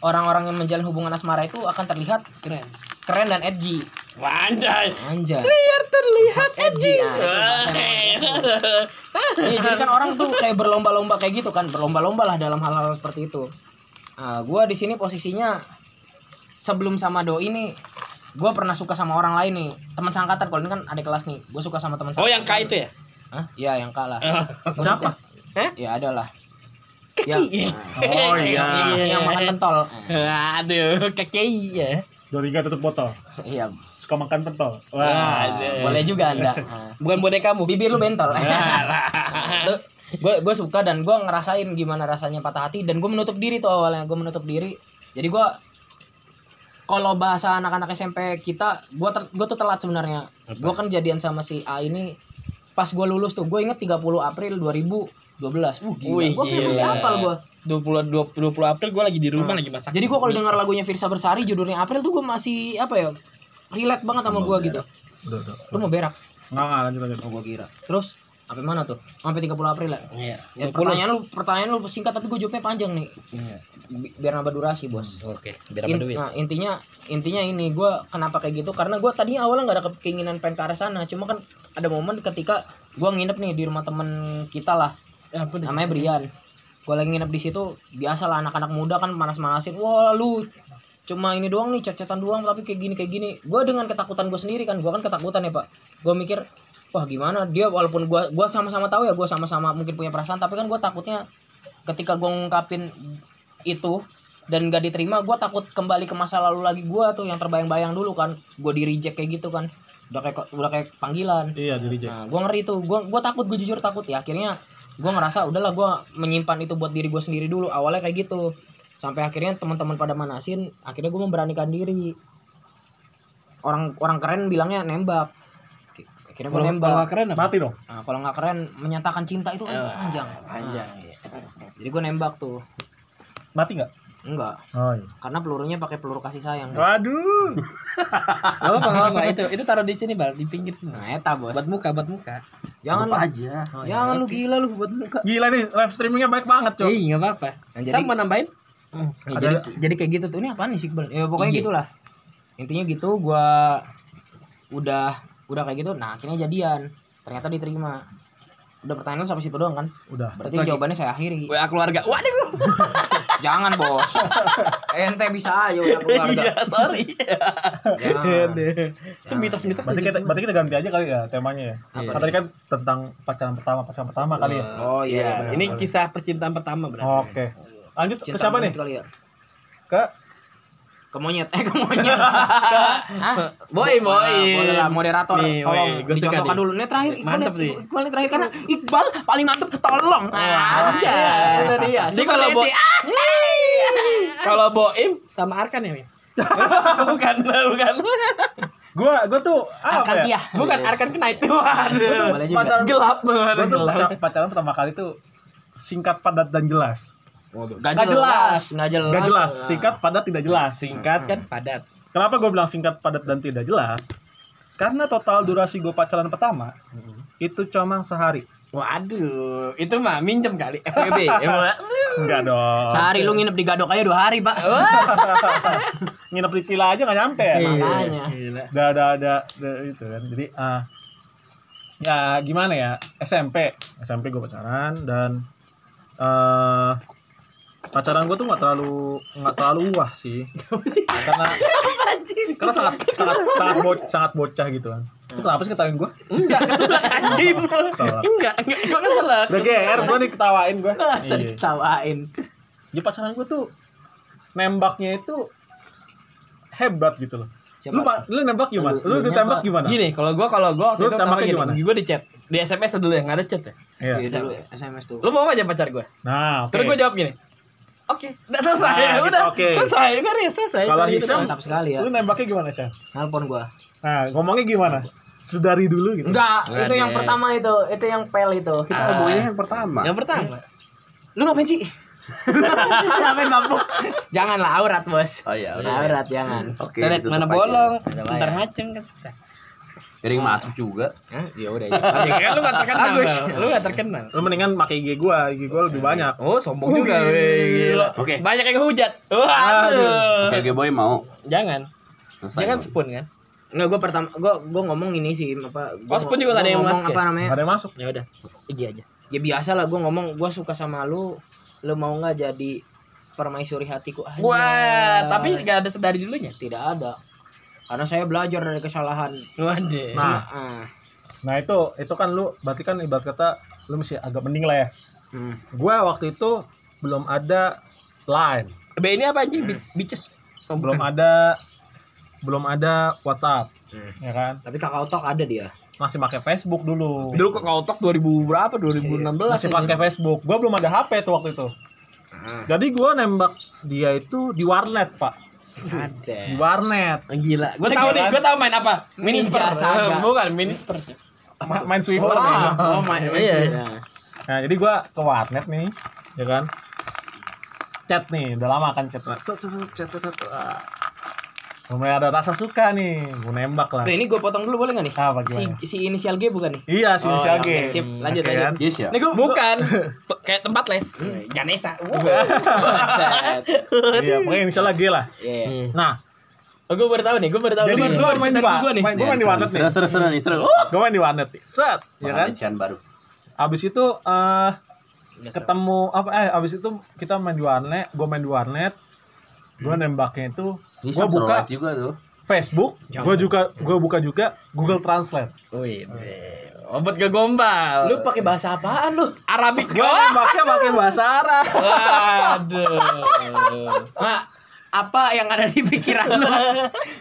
[SPEAKER 1] orang-orang yang menjalin hubungan asmara itu akan terlihat
[SPEAKER 3] keren.
[SPEAKER 1] keren dan edgy
[SPEAKER 3] Wah, Anjay.
[SPEAKER 1] anjay
[SPEAKER 3] Biar terlihat
[SPEAKER 1] edgy nah, itu bahasa yang
[SPEAKER 3] Wah.
[SPEAKER 1] Iya, jadi kan orang tuh kayak berlomba-lomba kayak gitu kan, berlomba-lomba lah dalam hal-hal seperti itu. Nah, gua di sini posisinya sebelum sama doi ini gua pernah suka sama orang lain nih, teman seangkatan kalau ini kan ada kelas nih. Gua suka sama teman
[SPEAKER 3] Oh, yang K itu ya?
[SPEAKER 1] Hah? Iya, yang kalah.
[SPEAKER 2] Siapa?
[SPEAKER 1] Hah? Ya adalah. Ya,
[SPEAKER 3] Iya.
[SPEAKER 2] Oh
[SPEAKER 1] yang, <laughs>
[SPEAKER 3] ya.
[SPEAKER 2] iya.
[SPEAKER 1] Ah, yang makan pentol.
[SPEAKER 3] Eh. Aduh, kekei ya.
[SPEAKER 2] Doriga tutup botol.
[SPEAKER 1] Iya,
[SPEAKER 2] Suka makan pentol. Wah.
[SPEAKER 3] Aduh.
[SPEAKER 1] boleh juga Anda. Nah.
[SPEAKER 3] Bukan Nah, bonekamu.
[SPEAKER 1] Bibir lu bentol. gue gue suka dan gue ngerasain gimana rasanya patah hati dan gue menutup diri tuh awalnya gue menutup diri jadi gue kalau bahasa anak-anak SMP kita gue gue tuh telat sebenarnya gue kan jadian sama si A ini pas gue lulus tuh gue inget 30 April 2012 uh gila
[SPEAKER 3] Wih,
[SPEAKER 1] gue kayak masih
[SPEAKER 3] gila.
[SPEAKER 1] hafal gue
[SPEAKER 3] 20 20 20 April gue lagi di rumah lagi masak.
[SPEAKER 1] jadi gue kalau dengar lagunya Firsa Bersari judulnya April tuh gue masih apa ya relate banget sama gue gitu
[SPEAKER 2] Udah, udah.
[SPEAKER 1] lu mau berak
[SPEAKER 2] Nggak, nggak, lanjut lanjut.
[SPEAKER 1] oh gue kira terus sampai mana tuh sampai 30 April ya
[SPEAKER 3] Iya.
[SPEAKER 1] Ya, pertanyaan lu pertanyaan lu singkat tapi gue jawabnya panjang nih. Bi- Biar nambah durasi, Bos.
[SPEAKER 3] Oke, biar
[SPEAKER 1] In- nah, intinya intinya ini gue kenapa kayak gitu karena gue tadinya awalnya nggak ada ke- keinginan pengen ke arah sana cuma kan ada momen ketika gue nginep nih di rumah temen kita lah namanya Brian gue lagi nginep di situ biasalah anak-anak muda kan panas-manasin wah lu cuma ini doang nih cacetan doang tapi kayak gini kayak gini gue dengan ketakutan gue sendiri kan gue kan ketakutan ya pak gue mikir wah gimana dia walaupun gue gua sama-sama tahu ya gue sama-sama mungkin punya perasaan tapi kan gue takutnya ketika gue ngungkapin itu dan gak diterima gue takut kembali ke masa lalu lagi gue tuh yang terbayang-bayang dulu kan gue di reject kayak gitu kan udah kayak udah kayak panggilan
[SPEAKER 2] Iya diri Jack.
[SPEAKER 1] Nah, gue ngeri tuh, gue gua takut, gue jujur takut ya. Akhirnya gue ngerasa udahlah gue menyimpan itu buat diri gue sendiri dulu. Awalnya kayak gitu, sampai akhirnya teman-teman pada manasin, akhirnya gue memberanikan diri. Orang orang keren bilangnya nembak. Akhirnya gue nembak.
[SPEAKER 3] Kalau keren apa?
[SPEAKER 2] Mati dong.
[SPEAKER 1] Nah, kalau nggak keren menyatakan cinta itu kan panjang.
[SPEAKER 3] Eh, Panjang. iya.
[SPEAKER 1] Nah, jadi gue nembak tuh,
[SPEAKER 2] Mati nggak?
[SPEAKER 1] enggak,
[SPEAKER 2] Oh iya.
[SPEAKER 1] karena pelurunya pakai peluru kasih sayang.
[SPEAKER 2] Waduh.
[SPEAKER 3] Gak apa-apa, gak apa-apa. Itu itu taruh di sini, Bal, di pinggir sini.
[SPEAKER 1] Nah, eta bos.
[SPEAKER 3] Buat Oh, muka, buat muka.
[SPEAKER 1] Jangan lu,
[SPEAKER 2] aja.
[SPEAKER 3] iya. Ah,
[SPEAKER 1] jangan lu gila lu buat muka.
[SPEAKER 2] Gila nih live streamingnya baik banget cok.
[SPEAKER 3] Ih, gak Iya, apa-apa.
[SPEAKER 1] Nah, jadi-
[SPEAKER 3] Sama nambahin?
[SPEAKER 1] Hmm, ya
[SPEAKER 2] Ada-
[SPEAKER 1] jadi jadi kayak gitu tuh ini apaan nih sikbel? Ya pokoknya
[SPEAKER 3] Iya.
[SPEAKER 1] gitulah. Intinya gitu gua udah udah kayak gitu. Nah, akhirnya jadian. Ternyata diterima. Udah pertanyaan lu sampai situ doang kan?
[SPEAKER 2] Udah.
[SPEAKER 1] Berarti
[SPEAKER 3] Satu lagi.
[SPEAKER 1] jawabannya saya akhiri.
[SPEAKER 3] WA keluarga. Waduh.
[SPEAKER 1] <laughs> Jangan, Bos. Ente bisa ayo udah keluarga.
[SPEAKER 3] Iya, sorry.
[SPEAKER 2] Iya. Ah.
[SPEAKER 1] Jangan.
[SPEAKER 3] Itu mitos-mitos.
[SPEAKER 2] Berarti kita berarti kita ganti aja kali ya temanya ya. Kan tadi kan tentang pacaran pertama pacaran pertama kali ya.
[SPEAKER 1] Oh iya.
[SPEAKER 3] Ini kisah percintaan pertama berarti.
[SPEAKER 2] Oke. Lanjut
[SPEAKER 1] Cinta
[SPEAKER 2] ke siapa nih?
[SPEAKER 1] monyet Kali ya?
[SPEAKER 2] Ke
[SPEAKER 1] Ke monyet. Eh, ke
[SPEAKER 3] <laughs>
[SPEAKER 1] monyet. Hah?
[SPEAKER 3] Boy, boy.
[SPEAKER 1] Ah, boleh lah moderator
[SPEAKER 3] Nih,
[SPEAKER 1] tolong
[SPEAKER 3] weh, gua suka
[SPEAKER 1] dicontohkan
[SPEAKER 3] nih.
[SPEAKER 1] dulu. Ini terakhir Iqbal
[SPEAKER 3] Mantep
[SPEAKER 1] nih,
[SPEAKER 3] sih.
[SPEAKER 1] Iqbal nih terakhir karena Iqbal paling mantep tolong. Ah,
[SPEAKER 3] iya.
[SPEAKER 1] itu dia.
[SPEAKER 3] Jadi
[SPEAKER 1] Suka
[SPEAKER 3] kalau
[SPEAKER 1] Titi.
[SPEAKER 3] Boy-
[SPEAKER 1] Ah, iya.
[SPEAKER 3] Kalau Boim sama Arkan ya, Win? <laughs> bukan, bukan.
[SPEAKER 2] gua gua tuh apa
[SPEAKER 1] Akan
[SPEAKER 2] ya?
[SPEAKER 1] dia.
[SPEAKER 3] Bukan Arkan Knight. <laughs> Waduh.
[SPEAKER 1] Boleh juga.
[SPEAKER 2] Pacaran
[SPEAKER 3] Gelap banget.
[SPEAKER 2] gua tuh
[SPEAKER 3] gelap.
[SPEAKER 2] pacaran, pacaran pertama kali tuh singkat padat dan jelas.
[SPEAKER 1] Gak
[SPEAKER 2] Gak jelas.
[SPEAKER 1] Gak jelas.
[SPEAKER 2] Gak jelas. Singkat padat tidak jelas.
[SPEAKER 3] Singkat kan padat.
[SPEAKER 2] Kenapa gue bilang singkat, padat, dan tidak jelas? Karena total durasi gue pacaran pertama itu cuma sehari.
[SPEAKER 3] Waduh, itu mah minjem <laughs> kali FWB. ya, Mbak?
[SPEAKER 2] Enggak dong.
[SPEAKER 1] Ah. Sehari lu nginep di gadok aja dua hari, Pak.
[SPEAKER 2] <laughs>
[SPEAKER 3] Oh,
[SPEAKER 2] Nginep di villa aja gak nyampe.
[SPEAKER 3] iya,
[SPEAKER 1] Makanya. <laughs>
[SPEAKER 3] Gila.
[SPEAKER 2] Udah, udah, udah, udah itu kan. Jadi, ah, ya gimana ya? SMP, SMP gue pacaran dan eh pacaran gue tuh nggak terlalu nggak terlalu wah sih karena karena sangat sangat sangat, bo- sangat bocah gitu kan Lu kenapa sih ketawain gue
[SPEAKER 3] Enggak keselak
[SPEAKER 2] <laughs>
[SPEAKER 3] anjing.
[SPEAKER 2] Keselak.
[SPEAKER 3] Enggak, enggak gua keselak.
[SPEAKER 2] udah GR gue nih ketawain gue
[SPEAKER 1] Masa
[SPEAKER 2] Iya.
[SPEAKER 1] diketawain.
[SPEAKER 2] jadi pacaran gue tuh nembaknya itu hebat gitu loh
[SPEAKER 1] Siapa?
[SPEAKER 2] lu ma- lu nembak gimana lu
[SPEAKER 1] Lu- lu
[SPEAKER 2] ditembak
[SPEAKER 1] nyapa.
[SPEAKER 2] gimana
[SPEAKER 3] Gini, kalau gua kalau gua
[SPEAKER 2] Lu
[SPEAKER 3] waktu itu pertama
[SPEAKER 2] tembaknya
[SPEAKER 3] gini,
[SPEAKER 2] gimana?
[SPEAKER 3] gua di chat, di SMS dulu ya, nggak ada chat ya.
[SPEAKER 2] Iya.
[SPEAKER 1] Iya dulu SMS tuh.
[SPEAKER 3] Lu mau nggak jadi pacar gua?
[SPEAKER 2] nah oke
[SPEAKER 3] Terus gua jawab gini. Oke, udah selesai.
[SPEAKER 2] Nah, gitu,
[SPEAKER 3] udah.
[SPEAKER 2] oke.
[SPEAKER 3] Selesai, beres, selesai.
[SPEAKER 2] Kalau
[SPEAKER 3] Cuma gitu
[SPEAKER 2] Hisham-
[SPEAKER 3] doang.
[SPEAKER 1] Mantap sekali ya.
[SPEAKER 2] lu nembaknya gimana sih
[SPEAKER 1] Nelpon gua.
[SPEAKER 2] nah ngomongnya gimana sedari dulu gitu
[SPEAKER 1] Enggak,
[SPEAKER 3] Enggak
[SPEAKER 1] itu yang
[SPEAKER 3] deh.
[SPEAKER 1] pertama itu, itu yang pel itu.
[SPEAKER 4] Kita
[SPEAKER 3] Ah.
[SPEAKER 4] hubungannya yang pertama.
[SPEAKER 3] yang pertama.
[SPEAKER 1] Lu ngapain sih? <laughs> ngapain mabuk? Janganlah aurat, Bos.
[SPEAKER 4] <laughs> Oh iya, udah.
[SPEAKER 1] Aurat jangan.
[SPEAKER 4] Oke.
[SPEAKER 3] Toilet
[SPEAKER 4] tutup
[SPEAKER 3] mana
[SPEAKER 4] aja.
[SPEAKER 3] bolong,
[SPEAKER 1] Udah
[SPEAKER 3] ntar
[SPEAKER 1] bayar.
[SPEAKER 3] macem kan susah.
[SPEAKER 2] Ah.
[SPEAKER 4] Piring masuk juga.
[SPEAKER 1] Hah? Ya udah. <laughs>
[SPEAKER 3] Ya kan lu gak terkenal,
[SPEAKER 1] Bagus.
[SPEAKER 3] Bang. lu gak terkenal.
[SPEAKER 2] lu mendingan pakai IG gue IG gue lebih banyak
[SPEAKER 3] Oh, sombong
[SPEAKER 2] Wih,
[SPEAKER 3] juga. weh, gila.
[SPEAKER 4] Oke.
[SPEAKER 3] Banyak yang hujat. Waduh.
[SPEAKER 4] Oke, oke boy mau.
[SPEAKER 3] Jangan.
[SPEAKER 4] Selesai.
[SPEAKER 3] Jangan
[SPEAKER 4] Boy.
[SPEAKER 3] spoon kan.
[SPEAKER 1] Enggak, gua pertama gua gua ngomong ini sih apa gua
[SPEAKER 3] Oh, Spoon juga nggak ada yang
[SPEAKER 1] ngomong
[SPEAKER 3] masuk ya?
[SPEAKER 1] apa namanya?
[SPEAKER 2] ada yang masuk
[SPEAKER 3] Ya udah. Iji aja.
[SPEAKER 1] Ya biasa lah gua ngomong gua suka sama lu. Lu mau nggak jadi permaisuri hatiku? Anjay.
[SPEAKER 3] Wah, tapi gak ada sedari dulunya.
[SPEAKER 1] tidak ada. Karena saya belajar dari kesalahan.
[SPEAKER 3] Waduh.
[SPEAKER 2] Nah.
[SPEAKER 1] Ah.
[SPEAKER 2] nah itu itu kan lu berarti kan ibarat kata lu mesti agak mending lah ya
[SPEAKER 1] Hmm.
[SPEAKER 2] gue waktu itu belum ada line
[SPEAKER 3] B ini apa anjing? Bi- Bitches. Oh,
[SPEAKER 2] belum
[SPEAKER 3] bukan.
[SPEAKER 2] ada belum ada WhatsApp
[SPEAKER 1] Hmm.
[SPEAKER 2] ya kan
[SPEAKER 1] Tapi kakak otok ada dia.
[SPEAKER 2] masih pakai Facebook dulu
[SPEAKER 3] Dulu kok kautok 2000 berapa? 2016.
[SPEAKER 2] masih
[SPEAKER 3] anjing.
[SPEAKER 2] pakai Facebook gue belum ada HP tuh waktu itu jadi gue nembak dia itu di warnet pak di
[SPEAKER 1] Asik.
[SPEAKER 2] warnet
[SPEAKER 3] Ah, Gila. Gua tahu nih, gua tahu main apa? Minisper.
[SPEAKER 1] Ninja Saga.
[SPEAKER 3] <laughs> Bukan Minisper.
[SPEAKER 2] Ma- main swiper
[SPEAKER 1] Wah.
[SPEAKER 2] nih.
[SPEAKER 1] Oh, my
[SPEAKER 3] Iya.
[SPEAKER 2] nah jadi gue ke warnet nih ya kan chat nih udah lama kan chat Set, set, set, chat, set, set. Ah. mulai ada rasa suka nih gue nembak lah
[SPEAKER 1] Tuh, ini gue potong dulu boleh gak nih?
[SPEAKER 2] Apa,
[SPEAKER 1] si,
[SPEAKER 2] gimana?
[SPEAKER 1] si inisial G bukan nih?
[SPEAKER 2] iya sih inisial
[SPEAKER 1] oke,
[SPEAKER 2] G.
[SPEAKER 1] sip. Lanjut,
[SPEAKER 2] Oke, kan?
[SPEAKER 1] lanjut.
[SPEAKER 4] Yes ya.
[SPEAKER 3] Ini gua bukan T- kayak tempat les. Ganesa.
[SPEAKER 1] Buset.
[SPEAKER 2] kan? iya pokoknya inisial G lah
[SPEAKER 1] Iya.
[SPEAKER 2] nah
[SPEAKER 3] Oh, gua baru tahu nih, gua baru tahu.
[SPEAKER 2] jadi
[SPEAKER 3] Gua baru-
[SPEAKER 2] gue
[SPEAKER 3] gua baru
[SPEAKER 2] main di
[SPEAKER 3] setan
[SPEAKER 2] wa-
[SPEAKER 3] gua nih.
[SPEAKER 2] main gue main di warnet nih
[SPEAKER 4] Seru seru seru nih seru. Oh,
[SPEAKER 2] gue main di warnet nih set ya kan
[SPEAKER 4] Makan baru.
[SPEAKER 2] abis itu eh ketemu apa eh abis itu kita main di warnet gue main di warnet gue nembaknya itu
[SPEAKER 4] Ini
[SPEAKER 2] gue
[SPEAKER 4] seru
[SPEAKER 2] buka
[SPEAKER 4] live juga tuh.
[SPEAKER 2] Facebook gue juga gue buka juga Google Translate
[SPEAKER 3] Wih, obat gak gombal.
[SPEAKER 1] Lu pakai bahasa apaan lu?
[SPEAKER 3] Arabik
[SPEAKER 2] gue nembaknya pakai bahasa Arab
[SPEAKER 3] Waduh.
[SPEAKER 1] Mak, apa yang ada di pikiran lu?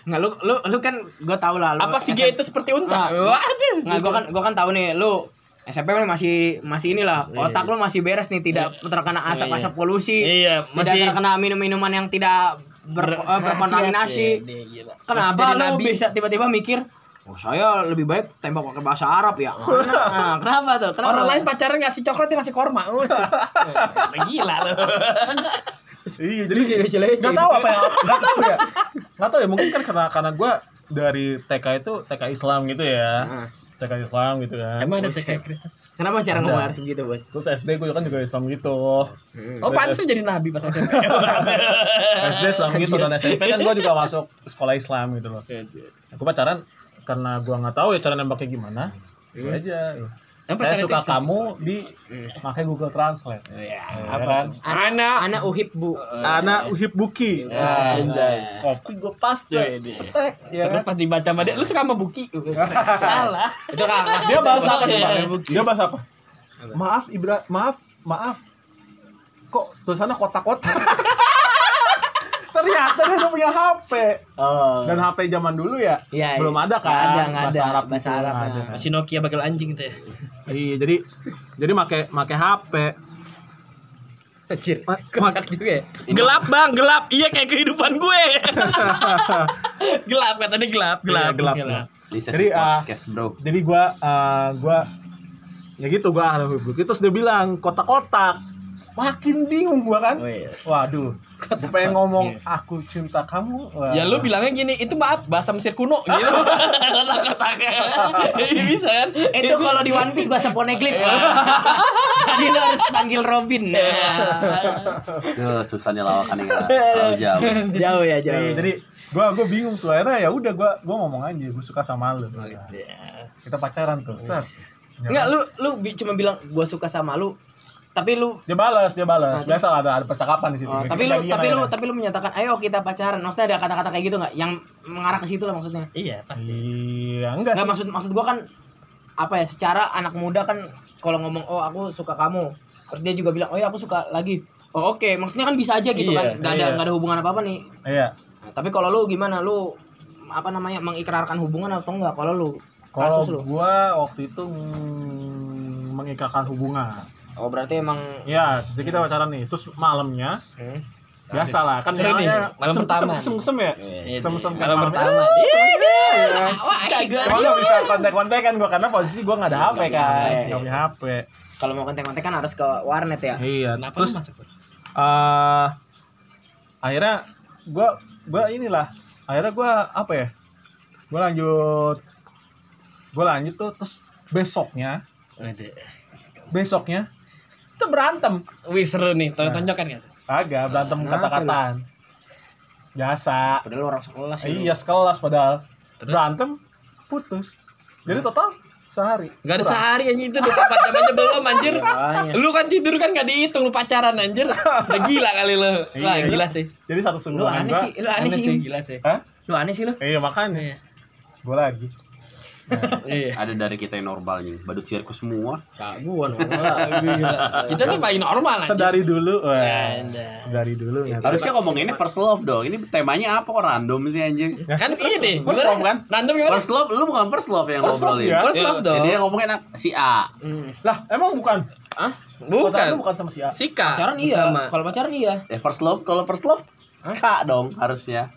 [SPEAKER 1] Nggak, lu, lu, lu kan gue tau lah. Lu
[SPEAKER 3] Apa si
[SPEAKER 1] SM
[SPEAKER 3] G itu seperti
[SPEAKER 1] Ah.
[SPEAKER 3] unta? Waduh.
[SPEAKER 1] Nggak, gue kan, gua kan tau nih, lu SMP lu masih masih inilah otak lu masih beres nih tidak terkena asap-asap polusi
[SPEAKER 3] Iya,
[SPEAKER 1] tidak
[SPEAKER 3] masih-
[SPEAKER 1] terkena minum-minuman yang tidak ber, eh, berkontaminasi
[SPEAKER 3] Iya,
[SPEAKER 1] Kenapa lu bisa tiba-tiba mikir Oh saya lebih baik tembak pakai bahasa Arab ya. <laughs> Nah, kenapa tuh? Kenapa?
[SPEAKER 3] Orang lain pacaran ngasih coklat dia ngasih
[SPEAKER 1] <laughs>
[SPEAKER 3] korma. Oh, se- Eh, Gila <laughs> lu.
[SPEAKER 2] iya jadi nggak tahu apa ya nggak tahu ya nggak tahu ya mungkin kan karena karena gue dari TK itu TK Islam gitu ya TK Islam gitu kan
[SPEAKER 3] Emang ada
[SPEAKER 1] Buset.
[SPEAKER 3] TK Kristen?
[SPEAKER 1] Kenapa cara ngomong harus begitu, Bos?
[SPEAKER 2] terus SD gue kan juga Islam gitu
[SPEAKER 3] Oh, pantas jadi nabi <laughs> pas SMP.
[SPEAKER 2] SD Islam gitu dan SMP kan gue juga masuk sekolah Islam gitu loh gue pacaran karena gue nggak tahu ya cara nembaknya gimana gue aja
[SPEAKER 3] Yang
[SPEAKER 2] saya
[SPEAKER 3] pacaran
[SPEAKER 2] suka
[SPEAKER 3] itu
[SPEAKER 2] kamu di pakai Google Translate ya, kan
[SPEAKER 3] Anak.
[SPEAKER 1] Anak uhib, <laughs> Bu.
[SPEAKER 2] anak uhib buki Nah,
[SPEAKER 3] Anjay.
[SPEAKER 2] kopi gue pasta
[SPEAKER 3] Iya, iya.
[SPEAKER 2] cetek ya
[SPEAKER 3] Terus
[SPEAKER 2] kan?
[SPEAKER 3] pas dibaca sama dia, lu suka sama Buki. <laughs> Salah.
[SPEAKER 1] Itu kan Mas.
[SPEAKER 2] dia bahasa apa nih, Pak?
[SPEAKER 3] Iya, Buki.
[SPEAKER 2] dia bahasa apa maaf Ibra maaf maaf kok tulisannya kotak-kotak <laughs> ternyata dia udah punya HP
[SPEAKER 1] Oh.
[SPEAKER 2] dan HP zaman dulu ya
[SPEAKER 1] Iya, iya.
[SPEAKER 2] belum ada kan
[SPEAKER 1] Nggak ada, nggak
[SPEAKER 2] bahasa
[SPEAKER 1] ada.
[SPEAKER 2] Arab
[SPEAKER 1] Bahasa
[SPEAKER 2] gitu,
[SPEAKER 1] Arab,
[SPEAKER 2] nggak
[SPEAKER 1] nah.
[SPEAKER 2] ada.
[SPEAKER 3] Masih Nokia bakal anjing tuh ya.
[SPEAKER 2] Iya, jadi jadi make make HP.
[SPEAKER 3] Anjir.
[SPEAKER 2] Ma-
[SPEAKER 3] Kocak juga ya. Gelap bang, gelap. Iya kayak kehidupan gue. <laughs> gelap katanya gelap, gelap,
[SPEAKER 2] Iya, <laughs> gelap, gelap.
[SPEAKER 4] Ini sesi
[SPEAKER 2] Jadi, ah,
[SPEAKER 4] podcast, Bro.
[SPEAKER 2] Jadi gua eh, gua ya gitu gua ahli Facebook. Terus dia bilang kotak-kotak. Makin bingung gua kan.
[SPEAKER 3] Oh, iya.
[SPEAKER 2] Waduh. Gua pengen ngomong
[SPEAKER 1] Iya.
[SPEAKER 2] aku cinta kamu. Wah.
[SPEAKER 3] Ya lu bilangnya gini, itu maaf bahasa Mesir kuno <laughs> gitu. Kata-katanya.
[SPEAKER 1] <laughs>
[SPEAKER 3] Iya, bisa kan?
[SPEAKER 1] Itu Iya. kalau di One Piece bahasa poneglyph. <laughs> Jadi lo harus panggil Robin.
[SPEAKER 4] Duh, susahnya lawakan yang
[SPEAKER 2] <laughs>
[SPEAKER 4] terlalu jauh.
[SPEAKER 1] Jauh ya, jauh.
[SPEAKER 2] Jadi, jadi gua gua bingung tuh akhirnya ya udah gua gua ngomong aja gua suka sama
[SPEAKER 1] Oh,
[SPEAKER 2] lu.
[SPEAKER 1] iya.
[SPEAKER 2] Kita pacaran tuh. Set.
[SPEAKER 1] Enggak lu lu bi- cuma bilang gua suka sama lu. tapi lu
[SPEAKER 2] Dia balas, dia balas. Biasa ada ada percakapan di situ.
[SPEAKER 1] Ah, Oh,
[SPEAKER 2] Bikin
[SPEAKER 1] tapi lu
[SPEAKER 2] jadian
[SPEAKER 1] tapi lu
[SPEAKER 2] akhirnya.
[SPEAKER 1] tapi lu menyatakan ayo kita pacaran. Maksudnya ada kata-kata kayak gitu nggak yang mengarah ke situ lah maksudnya.
[SPEAKER 3] Iya, pasti.
[SPEAKER 2] Iya, enggak sih.
[SPEAKER 1] Enggak maksud maksud gua kan apa ya secara anak muda kan kalau ngomong oh aku suka kamu terus dia juga bilang oh ya aku suka lagi oh oke maksudnya kan bisa aja gitu
[SPEAKER 2] Iya,
[SPEAKER 1] kan nggak ada
[SPEAKER 2] iya.
[SPEAKER 1] nggak ada hubungan apa apa nih
[SPEAKER 2] Iya.
[SPEAKER 1] Nah, tapi kalau lu gimana lu apa namanya mengikrarkan hubungan atau enggak kalau lu
[SPEAKER 2] Kalau
[SPEAKER 1] kasus lu
[SPEAKER 2] gua waktu itu mm, mengikrarkan hubungan.
[SPEAKER 1] oh berarti emang
[SPEAKER 2] Iya, jadi kita pacaran nih. Terus malamnya
[SPEAKER 1] hmm,
[SPEAKER 2] biasa lah kan
[SPEAKER 3] Sering nih,
[SPEAKER 2] namanya
[SPEAKER 3] malam
[SPEAKER 2] sem-
[SPEAKER 3] pertama
[SPEAKER 2] sem- sem sem ya.
[SPEAKER 3] Iya,
[SPEAKER 2] Sem sem
[SPEAKER 3] iya.
[SPEAKER 2] kan
[SPEAKER 3] Malam pertama.
[SPEAKER 2] Eh, sem- iya.
[SPEAKER 1] Wah, kagak.
[SPEAKER 2] Cuma nggak bisa kontak-kontak kan gua karena posisi gua nggak ada HP kan,
[SPEAKER 1] Iya.
[SPEAKER 2] nggak punya HP.
[SPEAKER 1] kalau mau kontek-kontek kan harus ke warnet ya
[SPEAKER 2] Iya.
[SPEAKER 3] Kenapa
[SPEAKER 2] Terus
[SPEAKER 3] lu masuk?
[SPEAKER 2] eh akhirnya gua gua inilah akhirnya gua apa ya gua lanjut gua lanjut tuh terus besoknya
[SPEAKER 3] Waduh.
[SPEAKER 2] besoknya kita berantem
[SPEAKER 3] Wih seru nih, tonton tonjokan kan?
[SPEAKER 2] agak berantem
[SPEAKER 1] Kenapa
[SPEAKER 2] kata-kataan biasa
[SPEAKER 1] padahal lu orang sekolah sih lu.
[SPEAKER 2] iya sekelas padahal
[SPEAKER 3] Terus?
[SPEAKER 2] berantem putus jadi total sehari
[SPEAKER 3] Gak ada
[SPEAKER 2] Kurang.
[SPEAKER 3] sehari anjing itu 24 jam aja belum anjir.
[SPEAKER 1] Iya, makanya.
[SPEAKER 3] Lu kan tidur kan gak dihitung lu pacaran <laughs> anjir. Udah gila kali lu. Wah,
[SPEAKER 2] Iya.
[SPEAKER 3] gila sih.
[SPEAKER 2] jadi satu
[SPEAKER 1] lu
[SPEAKER 2] sungguhan
[SPEAKER 1] aneh
[SPEAKER 2] gua
[SPEAKER 1] sih lu aneh sih Im.
[SPEAKER 3] gila sih.
[SPEAKER 2] Hah?
[SPEAKER 1] lu aneh sih lu
[SPEAKER 2] iya makanya
[SPEAKER 3] Iya.
[SPEAKER 2] gua lagi
[SPEAKER 3] Iya.
[SPEAKER 4] Ada dari kita yang normal nih, badut sirkus semua.
[SPEAKER 1] Kak, gua normal lah.
[SPEAKER 3] Gila. Kita tuh paling normal anjir.
[SPEAKER 2] sedari dulu wah
[SPEAKER 3] Anda.
[SPEAKER 2] sedari dulu ya.
[SPEAKER 3] iya.
[SPEAKER 2] nggak
[SPEAKER 4] Harusnya ngomonginnya first love dong. Ini temanya apa kok random sih anjing?
[SPEAKER 2] Ya.
[SPEAKER 3] Kan iya deh.
[SPEAKER 2] first love kan?
[SPEAKER 3] gimana? Random gimana?
[SPEAKER 4] First love, lu bukan first love yang
[SPEAKER 2] First love
[SPEAKER 4] ngobrolin.
[SPEAKER 2] ya?
[SPEAKER 3] First
[SPEAKER 1] Iya,
[SPEAKER 3] love
[SPEAKER 4] Jadi
[SPEAKER 3] dong.
[SPEAKER 4] dia ngomongin apa? si A.
[SPEAKER 1] Hmm.
[SPEAKER 2] Lah, emang bukan?
[SPEAKER 1] Ah,
[SPEAKER 3] Bukan.
[SPEAKER 2] Pacaran bukan sama si A.
[SPEAKER 3] Sika.
[SPEAKER 1] pacaran iya.
[SPEAKER 3] Sama.
[SPEAKER 1] Kalau pacaran iya.
[SPEAKER 4] Eh first love, kalau first love K dong harusnya.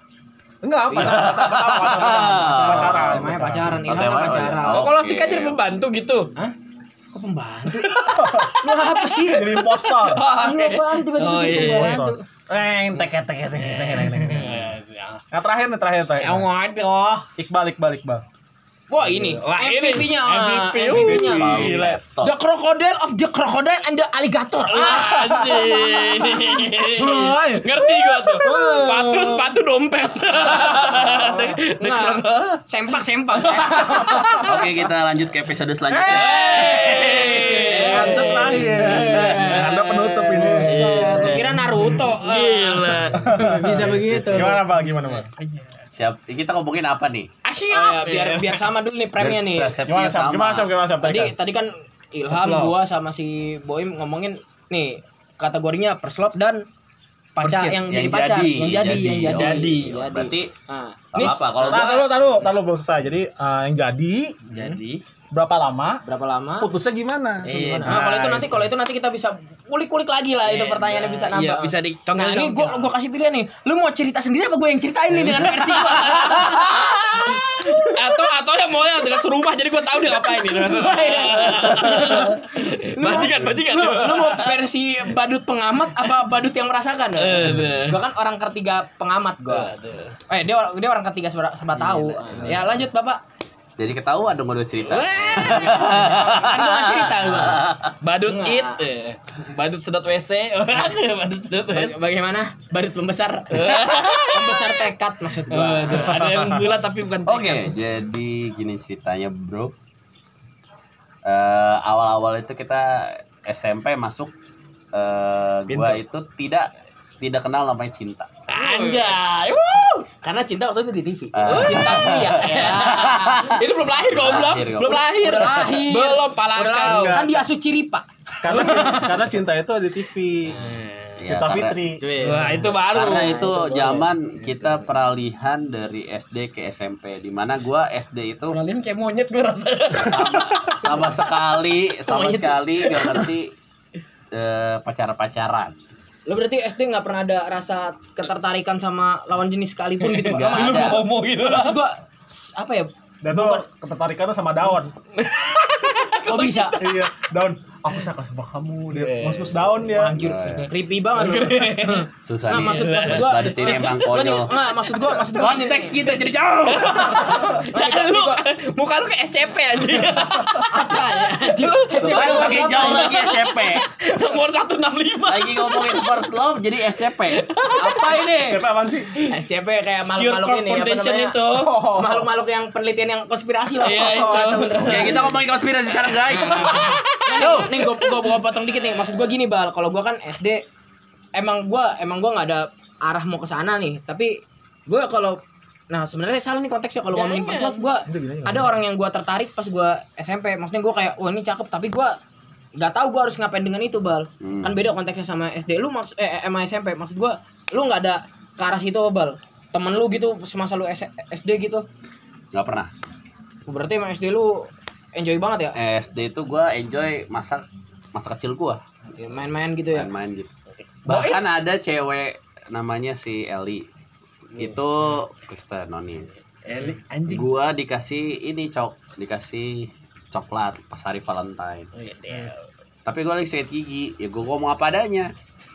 [SPEAKER 2] Enggak, pacaran, pacaran, pacaran, pacaran,
[SPEAKER 1] Namanya pacaran.
[SPEAKER 2] pacaran.
[SPEAKER 4] Oh,
[SPEAKER 1] Ilham kan
[SPEAKER 4] temanya-
[SPEAKER 1] pacaran.
[SPEAKER 3] Oh, kalau
[SPEAKER 4] Oke.
[SPEAKER 3] Sika jadi pembantu gitu.
[SPEAKER 1] Hah? Kok pembantu? Lu apa sih?
[SPEAKER 2] Jadi
[SPEAKER 3] <laughs>
[SPEAKER 2] impostor.
[SPEAKER 3] Iya.
[SPEAKER 1] Lu apaan tiba-tiba
[SPEAKER 3] Oh,
[SPEAKER 1] jadi
[SPEAKER 3] iya.
[SPEAKER 1] pembantu?
[SPEAKER 2] Impostor. Neng, tek, tek, tek, tek, tek, tek, tek, tek, tek. Nah, terakhir nih, terakhir, terakhir.
[SPEAKER 3] Ya waduh.
[SPEAKER 2] Iqbal, Iqbal, Iqbal.
[SPEAKER 1] Wah ini,
[SPEAKER 3] Wah, ini.
[SPEAKER 1] MVP-nya,
[SPEAKER 3] MVP.
[SPEAKER 1] MVP-nya.
[SPEAKER 3] Wih.
[SPEAKER 4] Tahu
[SPEAKER 3] Gila.
[SPEAKER 4] laptop.
[SPEAKER 1] The crocodile of the crocodile and the alligator. Ah,
[SPEAKER 3] Asik. <laughs> Ngerti gua tuh. Sepatu sepatu
[SPEAKER 1] <laughs>
[SPEAKER 3] dompet.
[SPEAKER 1] nah, sempak <laughs> sempak.
[SPEAKER 4] Oke, kita lanjut ke episode selanjutnya.
[SPEAKER 1] Iya.
[SPEAKER 2] Eh, Anda terakhir. Anda penutup ini.
[SPEAKER 1] Gue Iya. kira Naruto.
[SPEAKER 3] Gila.
[SPEAKER 1] <laughs> Nah. Bisa begitu.
[SPEAKER 2] Gimana, Bal? Gimana, Bal?
[SPEAKER 4] Siap. Kita ngomongin apa nih?
[SPEAKER 1] Asyik. iya, Biar biar sama dulu nih
[SPEAKER 4] Biar
[SPEAKER 1] premnya nih.
[SPEAKER 4] resepsinya
[SPEAKER 2] Gimana, Sam?
[SPEAKER 4] sama.
[SPEAKER 2] Gimana, Sam? Gimana, Sam?
[SPEAKER 1] tadi
[SPEAKER 2] Tadi
[SPEAKER 1] tadi kan Ilham
[SPEAKER 3] First love.
[SPEAKER 1] gua sama si Boim ngomongin nih kategorinya first love dan pacar
[SPEAKER 3] First kiss.
[SPEAKER 1] yang,
[SPEAKER 4] Yang
[SPEAKER 1] jadi pacar
[SPEAKER 4] jadi,
[SPEAKER 1] yang jadi
[SPEAKER 4] jadi.
[SPEAKER 1] yang jadi Oh, iya.
[SPEAKER 3] Jadi.
[SPEAKER 4] Berarti
[SPEAKER 1] nah, ini
[SPEAKER 4] apa? Kalau
[SPEAKER 2] Tahan
[SPEAKER 4] gua
[SPEAKER 2] dulu, tahan dulu, tahan dulu, belum selesai. Jadi, eh, yang jadi,
[SPEAKER 3] Jadi,
[SPEAKER 2] berapa lama,
[SPEAKER 1] berapa lama
[SPEAKER 2] putusnya gimana? Ah,
[SPEAKER 3] Iya,
[SPEAKER 1] Gimana? nah, kalau itu nanti kalau itu nanti kita bisa kulik-kulik lagi lah itu
[SPEAKER 3] Iya,
[SPEAKER 1] pertanyaannya bisa nambah
[SPEAKER 3] iya, bisa ditongkel-
[SPEAKER 1] nah ini gua
[SPEAKER 3] tongkel.
[SPEAKER 1] gua kasih pilihan nih lu mau cerita sendiri apa gua yang ceritain nih dengan versi
[SPEAKER 3] <laughs>
[SPEAKER 1] gua
[SPEAKER 3] atau atau yang mau yang dekat rumah jadi gua tahu dia ngapain ini. Bajingan, bajingan.
[SPEAKER 1] lu, lu mau versi badut pengamat apa badut yang merasakan
[SPEAKER 3] Eh,
[SPEAKER 1] gua kan orang ketiga pengamat gua eh dia orang dia orang ketiga sebera- sebab
[SPEAKER 3] Iya,
[SPEAKER 1] tahu ya lanjut bapak
[SPEAKER 4] jadi ketahuan dong udah cerita.
[SPEAKER 1] kan gua nggak cerita
[SPEAKER 3] <laughs>
[SPEAKER 1] gua
[SPEAKER 3] Badut
[SPEAKER 1] Nah.
[SPEAKER 3] it, eh. badut sedot WC, <laughs> badut sedot WC.
[SPEAKER 1] Baga- bagaimana badut
[SPEAKER 3] <laughs>
[SPEAKER 1] pembesar
[SPEAKER 3] Eh.
[SPEAKER 1] pembesar tekad maksud gua
[SPEAKER 3] Waduh, ada yang bulat tapi bukan
[SPEAKER 4] Oke,
[SPEAKER 3] tekad.
[SPEAKER 4] jadi gini ceritanya, Bro. Eh, awal-awal itu kita SMP masuk eh gua itu tidak tidak kenal namanya cinta.
[SPEAKER 3] Anjay. wuh.
[SPEAKER 1] karena cinta waktu itu di TV
[SPEAKER 3] Eh.
[SPEAKER 4] Ah.
[SPEAKER 1] cinta
[SPEAKER 3] <laughs>
[SPEAKER 1] kuliah
[SPEAKER 3] Ya. Ini belum lahir goblok,
[SPEAKER 4] Lahir, goblok.
[SPEAKER 3] belum lahir.
[SPEAKER 1] Udah lahir.
[SPEAKER 3] Belum pala
[SPEAKER 1] Udah lah,
[SPEAKER 3] kau.
[SPEAKER 1] kan dia asu ciripa
[SPEAKER 2] Karena cinta, karena cinta itu ada di TV.
[SPEAKER 1] Iya.
[SPEAKER 4] Ya,
[SPEAKER 2] Cinta
[SPEAKER 4] karena-
[SPEAKER 2] Fitri.
[SPEAKER 3] Wah, itu baru.
[SPEAKER 4] Karena itu zaman kita peralihan dari SD ke SMP di mana gua SD itu
[SPEAKER 3] Kalian kayak monyet gue rasanya.
[SPEAKER 4] sama sekali
[SPEAKER 1] Semuanya
[SPEAKER 4] sama
[SPEAKER 1] tuh.
[SPEAKER 4] sekali gak ngerti eh, pacaran-pacaran.
[SPEAKER 1] lo berarti SD nggak pernah ada rasa ketertarikan sama lawan jenis sekalipun gitu pak
[SPEAKER 4] Nggak
[SPEAKER 1] maksud
[SPEAKER 4] ada.
[SPEAKER 1] gua
[SPEAKER 3] Ngomong gitu.
[SPEAKER 1] maksud gua s- apa ya
[SPEAKER 2] Dan tuh ketertarikannya sama daun.
[SPEAKER 1] oh bisa
[SPEAKER 2] iya, daun. Aku suka sama kamu. Dia
[SPEAKER 1] Iya.
[SPEAKER 2] ngus-ngus daun dia.
[SPEAKER 1] anjir
[SPEAKER 4] Eh.
[SPEAKER 1] creepy banget lu.
[SPEAKER 4] Susah
[SPEAKER 1] Nah,
[SPEAKER 4] nih.
[SPEAKER 1] maksud- maksud gua-
[SPEAKER 4] badut ini emang konyol.
[SPEAKER 1] nggak maksud gua maksud gua gini.
[SPEAKER 4] Konteks kita jadi
[SPEAKER 1] <laughs>
[SPEAKER 4] jauh.
[SPEAKER 3] Nah, lu muka lu kayak SCP anjing.
[SPEAKER 1] apa ya
[SPEAKER 4] <laughs>
[SPEAKER 1] anjir
[SPEAKER 4] Coba
[SPEAKER 1] Siapa
[SPEAKER 4] makin
[SPEAKER 1] yang
[SPEAKER 4] jauh lagi SCP.
[SPEAKER 3] Nomor 165.
[SPEAKER 4] Lagi ngomongin first love jadi SCP. Apa ini?
[SPEAKER 2] Siapa apaan sih?
[SPEAKER 1] SCP kayak
[SPEAKER 3] Secure
[SPEAKER 1] makhluk-makhluk
[SPEAKER 3] Crop
[SPEAKER 1] ini apa
[SPEAKER 3] Foundation
[SPEAKER 1] namanya?
[SPEAKER 3] itu.
[SPEAKER 1] Oh. Makhluk-makhluk yang penelitian yang konspirasi lah.
[SPEAKER 3] Iya,
[SPEAKER 1] Oh,
[SPEAKER 3] itu.
[SPEAKER 4] gitu.
[SPEAKER 1] atau bener.
[SPEAKER 4] Oke, kita ngomongin konspirasi sekarang, guys.
[SPEAKER 1] Nah, Yo, nih gua gua, gua potong dikit nih. Maksud gua gini, Bal. Kalau gua kan SD emang gua emang gua nggak ada arah mau ke sana nih, tapi gua kalau Nah, sebenarnya salah nih konteksnya kalau ngomongin first love gua ada orang yang gua tertarik pas gua SMP. Maksudnya gua kayak, "Wah, ini cakep," tapi gua nggak tahu gua harus ngapain dengan itu, Bal.
[SPEAKER 4] Hmm.
[SPEAKER 1] Kan beda konteksnya sama SD lu maks eh, eh, sama SMP. Maksud gua lu nggak ada ke arah situ, Bal. Temen lu gitu semasa lu S- SD gitu.
[SPEAKER 4] nggak pernah
[SPEAKER 1] Berarti emang SD lu enjoy banget ya?
[SPEAKER 4] SD itu gua enjoy masa masa kecil gua
[SPEAKER 1] Ya, main-main gitu ya.
[SPEAKER 4] main-main gitu bahkan ada cewek namanya si Eli itu Kristen nonis
[SPEAKER 3] Eli Iya. anjing.
[SPEAKER 4] gua dikasih ini cok dikasih coklat pas hari Valentine
[SPEAKER 3] Oh, iya, Del.
[SPEAKER 4] tapi gua lagi sakit gigi ya gua ngomong apa adanya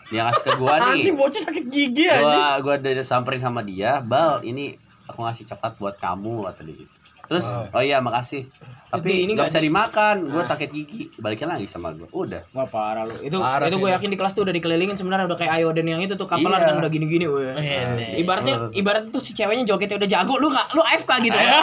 [SPEAKER 4] dia ngasih ke gua nih
[SPEAKER 3] Anjing bocah sakit gigi
[SPEAKER 1] Iya,
[SPEAKER 3] anjing.
[SPEAKER 4] gua gua udah samperin sama dia bal ini aku ngasih coklat buat kamu kata dia gitu. terus oh iya makasih
[SPEAKER 1] dia ini
[SPEAKER 4] tapi ini
[SPEAKER 1] nggak Ah.
[SPEAKER 4] nggak bisa dimakan gua sakit gigi balikin lagi sama gua udah
[SPEAKER 1] Wah parah lu. Itu
[SPEAKER 2] Parah
[SPEAKER 1] itu
[SPEAKER 2] sih
[SPEAKER 1] gue
[SPEAKER 2] itu.
[SPEAKER 1] yakin di kelas tuh udah dikelilingin sebenarnya udah kayak Ayoden yang itu tuh kapalan
[SPEAKER 4] Iya.
[SPEAKER 1] kan udah gini-gini weh.
[SPEAKER 3] Ini.
[SPEAKER 1] Ibaratnya ibaratnya tuh si ceweknya jogetnya udah jago lu nggak lu AFK gitu.
[SPEAKER 4] Nah,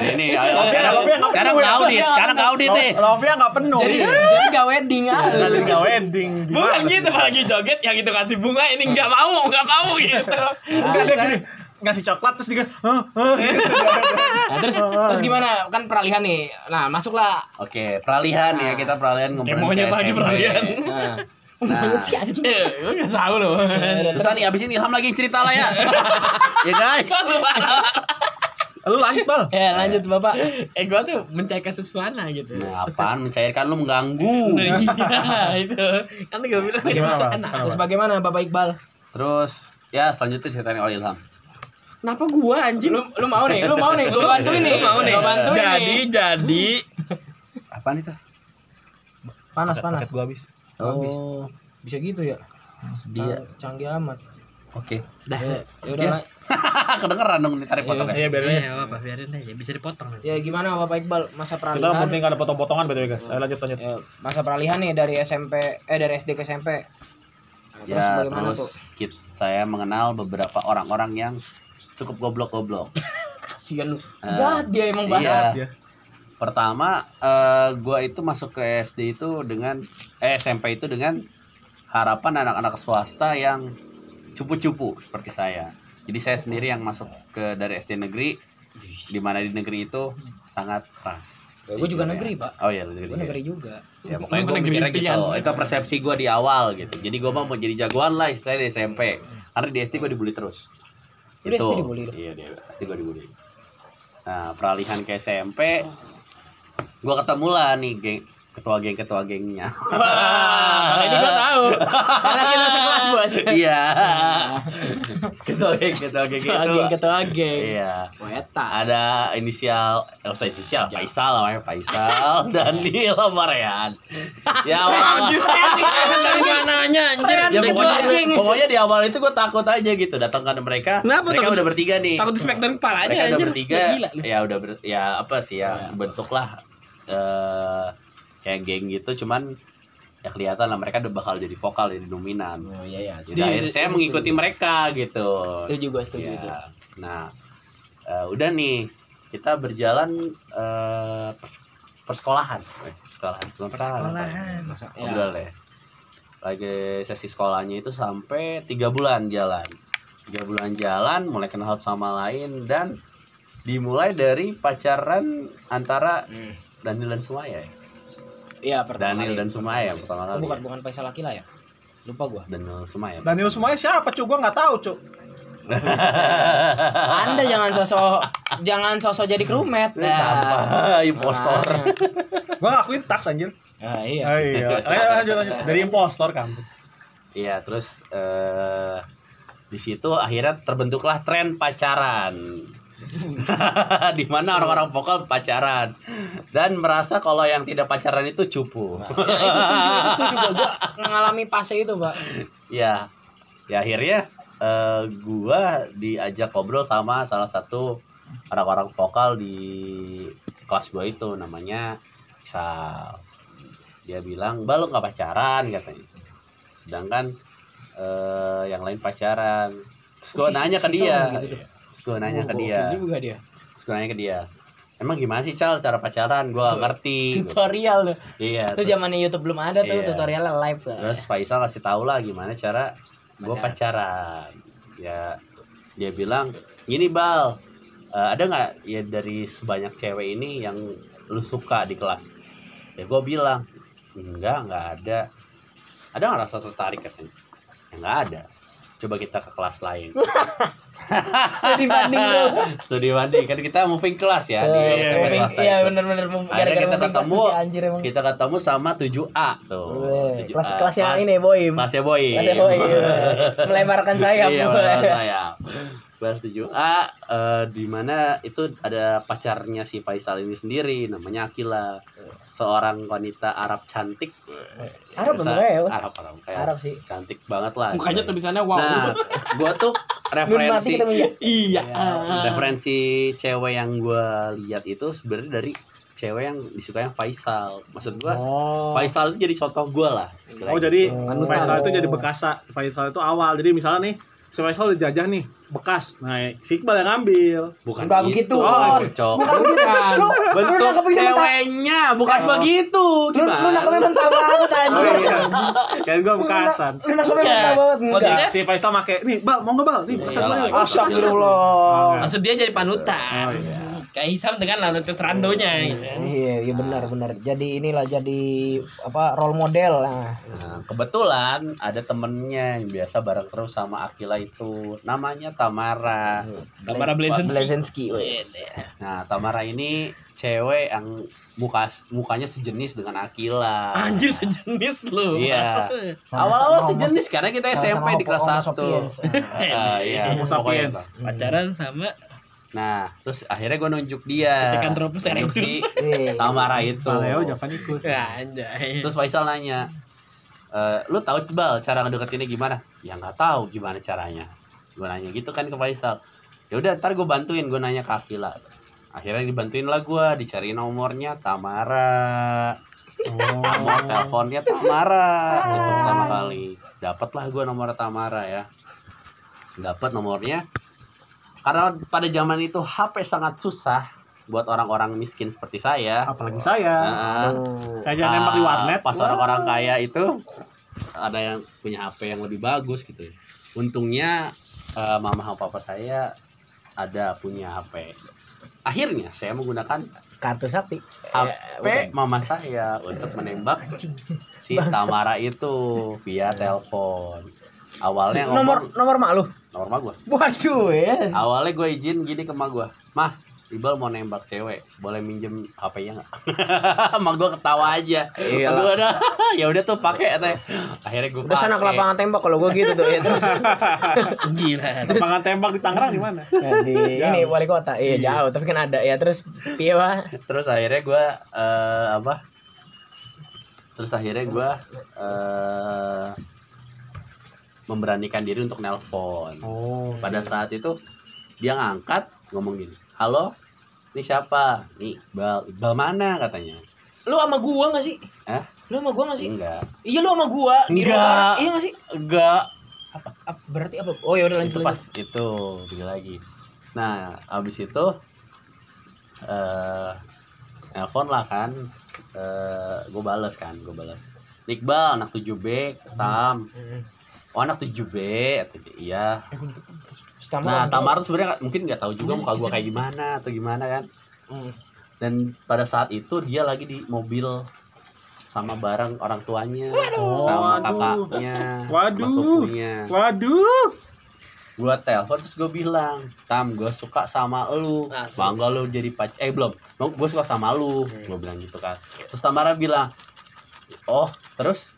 [SPEAKER 4] ini ayo, sekarang
[SPEAKER 2] Lopia nggak
[SPEAKER 4] sekarang
[SPEAKER 2] penuh ya?
[SPEAKER 4] kau audit sekarang kau audit nih
[SPEAKER 2] Lovia nggak penuh.
[SPEAKER 1] <laughs> jadi jadi gak wedding ah.
[SPEAKER 2] Jadi nggak wedding.
[SPEAKER 3] Bukan
[SPEAKER 2] Gimana
[SPEAKER 3] gitu
[SPEAKER 2] sih?
[SPEAKER 3] pas lagi joget yang itu kasih bunga ini nggak mau nggak mau gitu.
[SPEAKER 2] Nggak ada gini ngasih coklat terus dia "Hah, hah," gitu.
[SPEAKER 1] Nah, terus terus gimana? Kan peralihan nih. Nah, masuklah
[SPEAKER 4] Oke, peralihan ya
[SPEAKER 1] Ah.
[SPEAKER 4] kita peralihan ngomongin
[SPEAKER 3] Demonya
[SPEAKER 4] ke
[SPEAKER 3] pagi
[SPEAKER 4] SMP.
[SPEAKER 3] peralihan.
[SPEAKER 4] Nah,
[SPEAKER 1] banget sih anjing.
[SPEAKER 3] Eh, Gue nggak tahu loh. <laughs>
[SPEAKER 4] susah nih abisin Ilham lagi cerita lah
[SPEAKER 1] <laughs>
[SPEAKER 4] ya. ya guys.
[SPEAKER 3] Lu parah.
[SPEAKER 2] Lu lanjut bal.
[SPEAKER 1] Ya, lanjut Bapak.
[SPEAKER 3] Eh gua tuh mencairkan suasana gitu.
[SPEAKER 4] Nah, apaan mencairkan lu mengganggu.
[SPEAKER 3] Nah, <laughs> iya, itu. Kan gua bilang
[SPEAKER 2] Gimana, Bal?
[SPEAKER 3] suasana.
[SPEAKER 2] Kenapa?
[SPEAKER 1] nah, Terus bagaimana Bapak Iqbal?
[SPEAKER 4] Terus ya selanjutnya ceritain oleh Ilham.
[SPEAKER 3] Kenapa gua anjing?
[SPEAKER 1] Lu lu mau nih, lu mau nih, gue bantuin nih.
[SPEAKER 3] Lu mau nih.
[SPEAKER 1] Iya. Gua bantuin
[SPEAKER 3] Jadi
[SPEAKER 1] nih.
[SPEAKER 3] jadi
[SPEAKER 4] Apaan itu?
[SPEAKER 1] Panas panas.
[SPEAKER 2] Paket gua habis.
[SPEAKER 1] Oh, bisa gitu ya.
[SPEAKER 4] Dia.
[SPEAKER 1] Canggih amat. Ah.
[SPEAKER 4] Oke. <laughs>
[SPEAKER 1] Dah. Ya
[SPEAKER 4] Ya.
[SPEAKER 1] udah lah.
[SPEAKER 4] Kedengeran dong ya. ditarik potongnya.
[SPEAKER 2] Iya biarin aja.
[SPEAKER 3] Iya, apa biarin aja bisa dipotong nanti.
[SPEAKER 1] Ya gimana Bapak Iqbal masa
[SPEAKER 2] Kita
[SPEAKER 1] peralihan?
[SPEAKER 2] penting nggak ada potong-potongan betul ya guys. Ayo lanjut lanjut.
[SPEAKER 1] Ya, masa peralihan nih dari SMP eh dari SD ke SMP. Nah, terus
[SPEAKER 4] Ya,
[SPEAKER 1] bagaimana tuh?
[SPEAKER 4] terus kit- saya mengenal beberapa orang-orang yang cukup goblok-goblok.
[SPEAKER 1] Kasihan lu.
[SPEAKER 4] eh.
[SPEAKER 1] Jahat dia <laughs> emang bahasa.
[SPEAKER 4] Iya.
[SPEAKER 2] dia.
[SPEAKER 4] Pertama, eh, gua itu masuk ke SD itu dengan eh, SMP itu dengan harapan anak-anak swasta yang cupu-cupu seperti saya. Jadi saya sendiri yang masuk ke dari SD negeri, di mana di negeri itu sangat keras.
[SPEAKER 1] Ya, gua juga negeri, Pak.
[SPEAKER 4] Oh iya, lu
[SPEAKER 1] Gua
[SPEAKER 4] negeri.
[SPEAKER 1] negeri juga.
[SPEAKER 4] Ya, pokoknya
[SPEAKER 3] Lu
[SPEAKER 4] gue
[SPEAKER 3] negeri
[SPEAKER 4] mikirnya gitu.
[SPEAKER 3] impian.
[SPEAKER 4] Itu persepsi gua di awal gitu. Jadi gua mau mau jadi jagoan lah istilahnya di SMP. Karena di SD gua dibully terus.
[SPEAKER 1] Lu di SD dibully lu?
[SPEAKER 4] Iya, di SD gua dibully. Nah, peralihan ke SMP gua ketemu lah nih geng ketua geng ketua
[SPEAKER 1] <laughs>
[SPEAKER 4] gengnya.
[SPEAKER 1] Wah, ini gua tahu. Karena kita sekelas, Bos.
[SPEAKER 4] <laughs> Iya. ketua geng ketua
[SPEAKER 1] Ketua
[SPEAKER 4] geng
[SPEAKER 1] geng,
[SPEAKER 3] gitu
[SPEAKER 4] itu.
[SPEAKER 1] ketua geng.
[SPEAKER 4] Iya.
[SPEAKER 1] Poeta.
[SPEAKER 4] Ada inisial, eh usah inisial, Faisal namanya Faisal, <laughs> Daniel sama Rehan. Ya, awal
[SPEAKER 3] Dari mananya anjing?
[SPEAKER 4] ya
[SPEAKER 1] Ketua
[SPEAKER 4] pokoknya,
[SPEAKER 1] geng.
[SPEAKER 4] pokoknya di awal itu gue takut aja gitu datangkan mereka
[SPEAKER 3] Kenapa
[SPEAKER 4] mereka
[SPEAKER 3] takut?
[SPEAKER 4] udah bertiga nih
[SPEAKER 3] Takut di smackdown kepalanya
[SPEAKER 4] mereka udah
[SPEAKER 3] anjing.
[SPEAKER 4] bertiga
[SPEAKER 3] Ya, Gila. lu.
[SPEAKER 4] ya udah ber- ya apa sih ya
[SPEAKER 1] Iya.
[SPEAKER 4] bentuklah eh kayak geng gitu cuman ya kelihatan lah mereka udah bakal jadi vokal jadi dominan
[SPEAKER 1] Oh iya iya.
[SPEAKER 4] jadi akhirnya saya
[SPEAKER 1] setuju,
[SPEAKER 4] mengikuti
[SPEAKER 1] setuju.
[SPEAKER 4] mereka gitu
[SPEAKER 1] Setuju gua, setuju
[SPEAKER 4] Ya.
[SPEAKER 1] itu.
[SPEAKER 4] Nah, eh, udah nih kita berjalan eh, pers- persekolahan, Eh, sekolahan, bukan sekolahan, apa ya? Masa
[SPEAKER 1] Ya.
[SPEAKER 4] obral ya. Lagi sesi sekolahnya itu sampai tiga bulan jalan, tiga bulan jalan, mulai kenal satu sama lain dan dimulai dari pacaran antara
[SPEAKER 1] Hmm.
[SPEAKER 4] Daniel dan Sumaya. ya?
[SPEAKER 1] Iya, pertama
[SPEAKER 4] Daniel
[SPEAKER 1] kali.
[SPEAKER 4] dan Sumaya pertama
[SPEAKER 1] Oh,
[SPEAKER 4] kali.
[SPEAKER 1] bukan
[SPEAKER 4] ya?
[SPEAKER 1] bukan Faisal Akila ya? Lupa <laughs> gua.
[SPEAKER 4] Daniel Sumaya.
[SPEAKER 2] Daniel semuanya siapa cuy? Gua nggak tahu cuy.
[SPEAKER 1] Anda jangan sosok jangan sosok jadi Nah, krumet.
[SPEAKER 4] Eh, Sampah, impostor.
[SPEAKER 2] Gua ngakuin tax anjir.
[SPEAKER 1] Ah, iya.
[SPEAKER 2] Oh, <laughs> iya. Ayo lanjut lanjut. Dari impostor kamu.
[SPEAKER 4] Iya, terus eh di situ akhirnya terbentuklah tren pacaran. <laughs> di mana orang-orang vokal pacaran dan merasa kalau yang tidak pacaran itu cupu.
[SPEAKER 1] Ya, itu setuju, itu setuju gua. Gua mengalami fase itu, Pak.
[SPEAKER 4] ya. Ya akhirnya eh gua diajak ngobrol sama salah satu orang-orang vokal di kelas gua itu namanya Sal. Dia bilang, "Bah lu nggak pacaran," katanya. Sedangkan eh yang lain pacaran. Terus gua
[SPEAKER 1] Si-
[SPEAKER 4] nanya ke
[SPEAKER 1] si Sal
[SPEAKER 4] dia.
[SPEAKER 1] ngomong gitu tuh.
[SPEAKER 4] Terus gua nanya
[SPEAKER 1] Oh,
[SPEAKER 4] ke
[SPEAKER 1] gua
[SPEAKER 4] dia.
[SPEAKER 1] oke juga dia.
[SPEAKER 4] Terus gue nanya ke dia, emang gimana sih Cal cara pacaran gue gak ngerti gitu.
[SPEAKER 1] tutorial tuh
[SPEAKER 4] iya
[SPEAKER 1] itu
[SPEAKER 4] terus-
[SPEAKER 1] zamannya YouTube belum ada tuh
[SPEAKER 4] Iya.
[SPEAKER 1] tutorialnya live tuh
[SPEAKER 4] Terus Faisal kasih tahu lah gimana cara gue pacaran. Ya dia bilang gini bal, eh, ada nggak ya dari sebanyak cewek ini yang lu suka di kelas? Ya gue bilang enggak nggak ada. Ada nggak rasa tertarik katanya? "Ya, Nggak ada. Coba kita ke kelas lain.
[SPEAKER 1] <laughs> studi banding tuh
[SPEAKER 4] Studi banding kan kita moving kelas ya di
[SPEAKER 1] Iya,
[SPEAKER 4] SMP
[SPEAKER 1] iya,
[SPEAKER 4] swasta
[SPEAKER 1] iya
[SPEAKER 4] itu.
[SPEAKER 1] benar-benar
[SPEAKER 4] Akhirnya
[SPEAKER 1] gara-gara
[SPEAKER 4] kita
[SPEAKER 1] mungkin
[SPEAKER 4] ketemu,
[SPEAKER 1] pasti si anjir emang.
[SPEAKER 4] kita ketemu sama 7A tuh.
[SPEAKER 1] Weh,
[SPEAKER 4] 7A.
[SPEAKER 1] kelas kelas yang
[SPEAKER 4] Kelas-
[SPEAKER 1] ini boy.
[SPEAKER 4] Kelasnya boy.
[SPEAKER 1] Kelasnya <laughs> boy.
[SPEAKER 4] <laughs>
[SPEAKER 1] Melebarkan sayap.
[SPEAKER 4] Iya, <laughs> melebarkan sayap. Kelas 7A eh, di mana itu ada pacarnya si Faisal ini sendiri namanya Akila. Seorang wanita Arab cantik.
[SPEAKER 1] Arab
[SPEAKER 4] Bisa-
[SPEAKER 1] emang ya, Bos?
[SPEAKER 4] Arab Arab. Kayak
[SPEAKER 1] Arab sih.
[SPEAKER 4] Cantik banget lah.
[SPEAKER 2] Mukanya
[SPEAKER 4] Gimana?
[SPEAKER 2] tulisannya wow.
[SPEAKER 4] Nah, gua tuh
[SPEAKER 1] Nun mati
[SPEAKER 4] referensi
[SPEAKER 1] ketemu ya.
[SPEAKER 2] iya.
[SPEAKER 4] referensi cewek yang gua lihat itu sebenarnya dari cewek yang disukai Faisal. Maksud gua
[SPEAKER 2] Oh.
[SPEAKER 4] Faisal itu jadi contoh gua lah.
[SPEAKER 2] Oh
[SPEAKER 4] istilahnya.
[SPEAKER 2] jadi
[SPEAKER 1] Panutan.
[SPEAKER 2] Faisal itu jadi bekasa. Faisal itu awal. Jadi misalnya nih si Faisal udah jajah nih bekas. Nah, si Iqbal yang ngambil.
[SPEAKER 4] bukan
[SPEAKER 1] Bukan
[SPEAKER 4] begitu,
[SPEAKER 1] begitu,
[SPEAKER 4] Bos.
[SPEAKER 1] Bos.
[SPEAKER 4] Cok.
[SPEAKER 1] Bukan. Lu lu
[SPEAKER 4] Bentuk
[SPEAKER 1] nangkepin sama tangan.
[SPEAKER 4] ceweknya bukan begitu.
[SPEAKER 1] Oh. Lu lu
[SPEAKER 4] Gimana?
[SPEAKER 1] nangkepin mentah banget
[SPEAKER 2] Oh
[SPEAKER 1] anjir.
[SPEAKER 2] iya. Kan gua bekasan.
[SPEAKER 1] Lu nangkepin mentah banget.
[SPEAKER 2] Si,
[SPEAKER 1] Enggak.
[SPEAKER 2] si Faisal make nih, "Bal, mau enggak, Bal?" Nih, Nah, bekasan
[SPEAKER 4] Iyalah,
[SPEAKER 2] gua.
[SPEAKER 4] Faisal.
[SPEAKER 1] Astagfirullah.
[SPEAKER 2] kan.
[SPEAKER 3] Maksud dia jadi panutan.
[SPEAKER 2] Oh, iya.
[SPEAKER 3] Kayak Hisam dengan Lanutus Randonya gitu.
[SPEAKER 1] Iya, iya benar benar. Jadi inilah jadi apa role model. Nah.
[SPEAKER 4] Nah, kebetulan ada temennya yang biasa bareng terus sama Akila itu. Namanya Tamara.
[SPEAKER 2] Hmm,
[SPEAKER 3] Tamara Blazen.
[SPEAKER 1] Blazenski wes.
[SPEAKER 4] Nah, Tamara ini cewek yang muka mukanya sejenis dengan Akila.
[SPEAKER 3] Anjir sejenis lu.
[SPEAKER 4] Iya.
[SPEAKER 1] Sama-sama
[SPEAKER 4] Awal-awal
[SPEAKER 1] homo-
[SPEAKER 4] sejenis karena kita
[SPEAKER 1] Sama-sama
[SPEAKER 4] SMP di kelas
[SPEAKER 1] homo
[SPEAKER 4] 1.
[SPEAKER 1] sapiens. Nah.
[SPEAKER 4] <laughs> iya,
[SPEAKER 2] Homo
[SPEAKER 4] pokoknya
[SPEAKER 2] sapiens.
[SPEAKER 4] itu.
[SPEAKER 3] <laughs> Pacaran sama
[SPEAKER 4] Nah, terus akhirnya gue nunjuk dia.
[SPEAKER 3] Pithecanthropus
[SPEAKER 4] Nunjuk
[SPEAKER 3] erectus.
[SPEAKER 4] si
[SPEAKER 1] <laughs> Iya.
[SPEAKER 4] Tamara itu.
[SPEAKER 2] Paleo Javanicus.
[SPEAKER 3] Ya, anjay.
[SPEAKER 4] Terus Faisal nanya, "Eh, lu tahu cebal cara ngedeketinnya gimana? Ya nggak tahu gimana caranya. Gue nanya gitu kan ke Faisal. Ya udah ntar gue bantuin gue nanya ke Akila. Akhirnya dibantuin lah gue dicari nomornya Tamara.
[SPEAKER 2] Oh.
[SPEAKER 4] Nomor teleponnya Tamara itu pertama
[SPEAKER 2] Ah.
[SPEAKER 4] kali. Dapatlah gue nomor Tamara ya. Dapat nomornya. Karena pada zaman itu HP sangat susah buat orang-orang miskin seperti saya.
[SPEAKER 2] Apalagi saya.
[SPEAKER 4] Nah,
[SPEAKER 2] Saya jangan nembak di
[SPEAKER 4] Ah,
[SPEAKER 2] warnet.
[SPEAKER 4] Pas
[SPEAKER 2] Wah.
[SPEAKER 4] orang-orang kaya itu ada yang punya HP yang lebih bagus gitu. ya. Untungnya eh, mama sama papa saya ada punya HP. Akhirnya saya menggunakan
[SPEAKER 1] Kartu sakti.
[SPEAKER 4] HP mama saya untuk menembak si Tamara itu via telepon. Awalnya
[SPEAKER 1] Nomor
[SPEAKER 4] ngomong
[SPEAKER 1] nomor mak lu.
[SPEAKER 4] nomor mah gua.
[SPEAKER 1] Waduh ya.
[SPEAKER 4] Awalnya gue izin gini ke emak gue Mah, Iqbal mau nembak cewek Boleh minjem HP-nya gak? <laughs> emak gue ketawa aja
[SPEAKER 1] Iyalah.
[SPEAKER 4] Gue udah <laughs> Ya udah tuh pakai katanya. Akhirnya gue
[SPEAKER 1] Iya Udah sana ke lapangan tembak kalau gua gitu tuh ya terus.
[SPEAKER 3] Gila.
[SPEAKER 2] Lapangan tembak di Tangerang di mana?
[SPEAKER 1] Nah, di ini wali kota. Iya, jauh tapi kan ada ya terus piye Wah?
[SPEAKER 4] Terus akhirnya gue eh, Apa Terus akhirnya gue eh, Memberanikan diri untuk nelpon
[SPEAKER 2] Oh.
[SPEAKER 4] Pada saat itu Dia ngangkat Ngomong gini Halo Ini siapa? Nih Iqbal Iqbal mana katanya
[SPEAKER 1] Lu sama gua gak sih?
[SPEAKER 4] Hah?
[SPEAKER 1] Lu sama gua gak sih?
[SPEAKER 4] Enggak
[SPEAKER 1] Iya lu sama gua di
[SPEAKER 4] Enggak.
[SPEAKER 1] luar. Iya gak sih?
[SPEAKER 4] Enggak
[SPEAKER 1] Apa, apa- berarti apa? Oh ya udah lanjut
[SPEAKER 4] itu pas
[SPEAKER 1] lanjut.
[SPEAKER 4] itu pergi lagi nah abis itu eh nelpon lah kan eh gue balas kan gue balas Iqbal anak 7B Tam
[SPEAKER 1] Hmm.
[SPEAKER 4] oh anak 7B atau iya
[SPEAKER 1] Stamar.
[SPEAKER 4] nah Tamar tuh sebenarnya nggak- mungkin nggak tahu juga muka gue kayak gimana atau gimana kan
[SPEAKER 1] Hmm.
[SPEAKER 4] dan pada saat itu dia lagi di mobil sama bareng orang tuanya
[SPEAKER 2] Waduh.
[SPEAKER 4] sama kakaknya
[SPEAKER 2] Waduh.
[SPEAKER 4] sama sepupunya
[SPEAKER 2] Waduh.
[SPEAKER 4] gua telepon terus gue bilang tam gue suka sama lu
[SPEAKER 3] Asik.
[SPEAKER 4] bangga lu jadi pacar eh belum gue suka sama lu gue bilang gitu kan terus Tamara bilang oh terus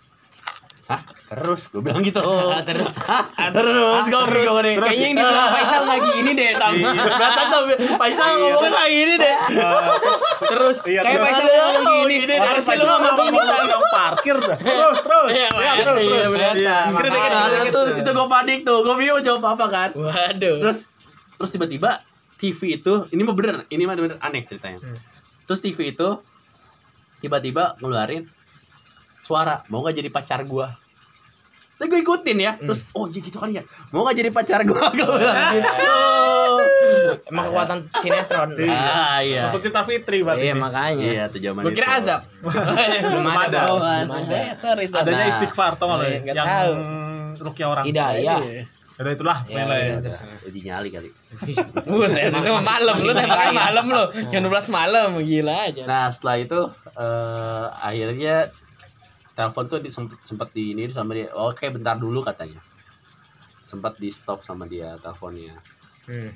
[SPEAKER 4] Hah? Terus gue bilang gitu. Hah? terus. gue bingung nih.
[SPEAKER 1] Kayaknya yang <laughs> dibilang Faisal gak gini deh Tam.
[SPEAKER 4] Berasa tuh Faisal ngomong
[SPEAKER 1] Ah,
[SPEAKER 4] kayak gini deh.
[SPEAKER 1] Terus
[SPEAKER 2] Iya,
[SPEAKER 1] kayak Faisal
[SPEAKER 2] terus.
[SPEAKER 1] ngomong
[SPEAKER 4] Aduh,
[SPEAKER 1] gini.
[SPEAKER 4] gini deh.
[SPEAKER 1] Harusnya lu
[SPEAKER 4] Faisal
[SPEAKER 1] sama
[SPEAKER 4] ngomong
[SPEAKER 1] gini.
[SPEAKER 2] Bisa dong parkir dah. Terus terus.
[SPEAKER 3] Iya,
[SPEAKER 2] Ya, terus
[SPEAKER 4] iya,
[SPEAKER 2] terus.
[SPEAKER 1] bener.
[SPEAKER 2] Iya.
[SPEAKER 4] Mikirnya kayak
[SPEAKER 1] Makanya.
[SPEAKER 4] gitu. Terus itu gue panik tuh. Gue bingung mau jawab apa kan.
[SPEAKER 3] Waduh.
[SPEAKER 4] terus terus tiba-tiba TV itu ini mah bener ini mah bener aneh ceritanya terus TV itu tiba-tiba ngeluarin suara mau nggak jadi pacar gua Hmm. <laughs> tapi gue ikutin ya terus oh iya gitu kali ya mau nggak jadi pacar gua gue bilang gitu
[SPEAKER 1] Emang kekuatan sinetron.
[SPEAKER 4] Ah, iya.
[SPEAKER 2] Pecinta Fitri berarti.
[SPEAKER 1] Iya makanya.
[SPEAKER 4] Iya, itu zaman
[SPEAKER 1] Gue kira
[SPEAKER 4] itu.
[SPEAKER 1] azab. <laughs> belum ada,
[SPEAKER 2] Ada.
[SPEAKER 1] bos, belum ada.
[SPEAKER 3] Eh, sorry, sorry.
[SPEAKER 2] Adanya
[SPEAKER 4] Nah.
[SPEAKER 2] istighfar tau nggak lo ya?
[SPEAKER 3] Eh, nggak
[SPEAKER 2] Yang
[SPEAKER 3] tahu.
[SPEAKER 2] rukia orang.
[SPEAKER 1] Hidayah.
[SPEAKER 2] Udah itulah,
[SPEAKER 1] Iya,
[SPEAKER 2] main lah ya.
[SPEAKER 1] iya.
[SPEAKER 4] Ada. Uji nyali kali.
[SPEAKER 3] Buset, itu mah malam lu
[SPEAKER 1] Masih
[SPEAKER 3] nembaknya
[SPEAKER 1] bahaya.
[SPEAKER 3] malam lu. Jam 12 malam gila aja.
[SPEAKER 4] Nah setelah itu eh, akhirnya telepon tuh di, sempet, sempet di ini sama dia. Oke bentar dulu katanya. Sempat di stop sama dia teleponnya.
[SPEAKER 1] Hmm.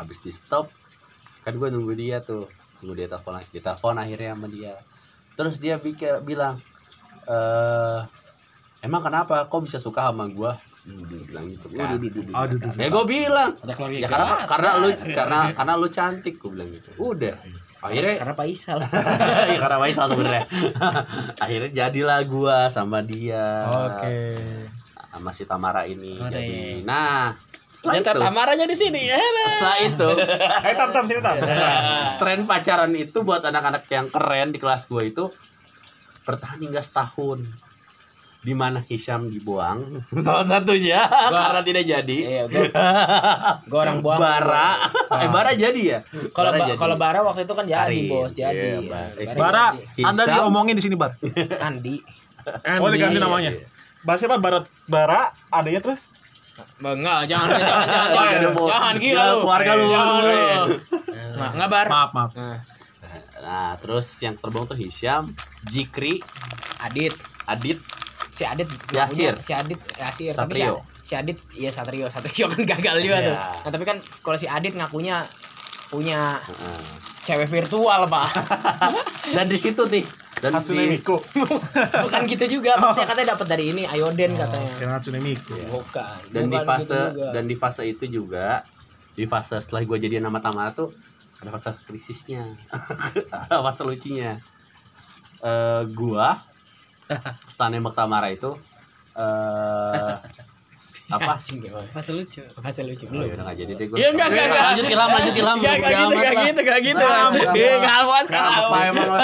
[SPEAKER 4] Habis di stop kan gue nunggu dia tuh. Nunggu dia telepon lagi. Di telepon akhirnya sama dia. Terus dia bika- bilang eh emang kenapa kok bisa suka sama gue? Duh, bilang gitu kan.
[SPEAKER 2] Aduh, duh, duh, duh. Aduh,
[SPEAKER 4] Aduh, duh,
[SPEAKER 2] duh,
[SPEAKER 4] duh. Ya gue bilang
[SPEAKER 1] Ada keluarga.
[SPEAKER 4] ya karena
[SPEAKER 1] keras.
[SPEAKER 4] karena lu karena karena lu cantik gue bilang gitu. Udah. Akhirnya
[SPEAKER 1] karena Faisal.
[SPEAKER 4] ya karena Faisal
[SPEAKER 1] <laughs>
[SPEAKER 4] sebenarnya akhirnya jadilah gua sama dia
[SPEAKER 2] Oke.
[SPEAKER 4] sama si Tamara ini
[SPEAKER 3] Oke.
[SPEAKER 4] jadi nah setelah
[SPEAKER 3] Ternyata
[SPEAKER 4] itu
[SPEAKER 3] tamaranya di sini. ya. Elah.
[SPEAKER 4] setelah
[SPEAKER 1] <laughs>
[SPEAKER 4] itu
[SPEAKER 2] Eh, tam tam sini tam.
[SPEAKER 3] Iya.
[SPEAKER 4] tren pacaran itu buat anak-anak yang keren di kelas gua itu bertahan hingga setahun di mana Hisham dibuang <laughs> salah satunya karena tidak jadi <laughs>
[SPEAKER 1] Iya, gue gue orang buang. Ah.
[SPEAKER 4] Bara eh Bara jadi ya
[SPEAKER 1] Kalau
[SPEAKER 4] Bara
[SPEAKER 1] ba-
[SPEAKER 4] jadi.
[SPEAKER 1] kalau Bara waktu itu kan jadi
[SPEAKER 4] Karin.
[SPEAKER 1] bos,
[SPEAKER 4] Iya,
[SPEAKER 1] jadi.
[SPEAKER 4] Bara.
[SPEAKER 1] Ya,
[SPEAKER 2] Bara,
[SPEAKER 1] jadi.
[SPEAKER 2] Anda
[SPEAKER 4] Hisam.
[SPEAKER 2] diomongin di sini, Bar.
[SPEAKER 1] Andi.
[SPEAKER 2] Oh,
[SPEAKER 1] Andi.
[SPEAKER 2] diganti namanya. Bar siapa? Barat Bara, adanya terus
[SPEAKER 1] Ba- Enggak, jangan jangan jangan jangan,
[SPEAKER 4] Ada mau-
[SPEAKER 1] jangan gila
[SPEAKER 4] jangan
[SPEAKER 1] lu.
[SPEAKER 4] keluarga lu,
[SPEAKER 1] Jangan
[SPEAKER 4] lu.
[SPEAKER 1] lu. Nggak nggak, Bar.
[SPEAKER 2] maaf maaf
[SPEAKER 1] Nah,
[SPEAKER 4] nah terus yang terbuang tuh Hisham Jikri
[SPEAKER 1] Adit,
[SPEAKER 4] Adit
[SPEAKER 1] si Adit
[SPEAKER 4] Yasir.
[SPEAKER 1] punya- si Adit Yasir tapi si,
[SPEAKER 4] Satrio.
[SPEAKER 1] si Adit ya Satrio Satrio kan gagal juga
[SPEAKER 4] Iya.
[SPEAKER 1] tuh nah tapi kan kalau si Adit ngakunya punya
[SPEAKER 4] Heeh.
[SPEAKER 1] cewek virtual pak
[SPEAKER 4] dan di situ nih dan
[SPEAKER 2] Hatsune
[SPEAKER 4] di-
[SPEAKER 2] Miku.
[SPEAKER 1] bukan gitu juga maksudnya katanya dapat dari ini
[SPEAKER 2] Oh,
[SPEAKER 1] Ayoden katanya
[SPEAKER 2] Kira Hatsune Miku. Iya.
[SPEAKER 3] Bukan.
[SPEAKER 4] dan di
[SPEAKER 3] Bukan
[SPEAKER 4] fase
[SPEAKER 3] gitu juga.
[SPEAKER 4] dan di fase itu juga di fase setelah gue jadian sama Tamara tuh ada fase krisisnya <laughs> ada fase lucunya Eh gua <laughs> setelah nembak Tamara itu <laughs> eh apa
[SPEAKER 1] Anjing, ya, Bang.
[SPEAKER 3] fase lucu.
[SPEAKER 1] bahasa lucu
[SPEAKER 4] Oh,
[SPEAKER 1] belum
[SPEAKER 4] ya udah nggak jadi deh gue
[SPEAKER 3] Iya, enggak, enggak, enggak.
[SPEAKER 4] lanjut ilham lanjut ilham
[SPEAKER 3] Enggak enggak gitu, enggak gitu, enggak gitu.
[SPEAKER 1] Nah,
[SPEAKER 3] Iya, ngalaman
[SPEAKER 1] apa emang lo?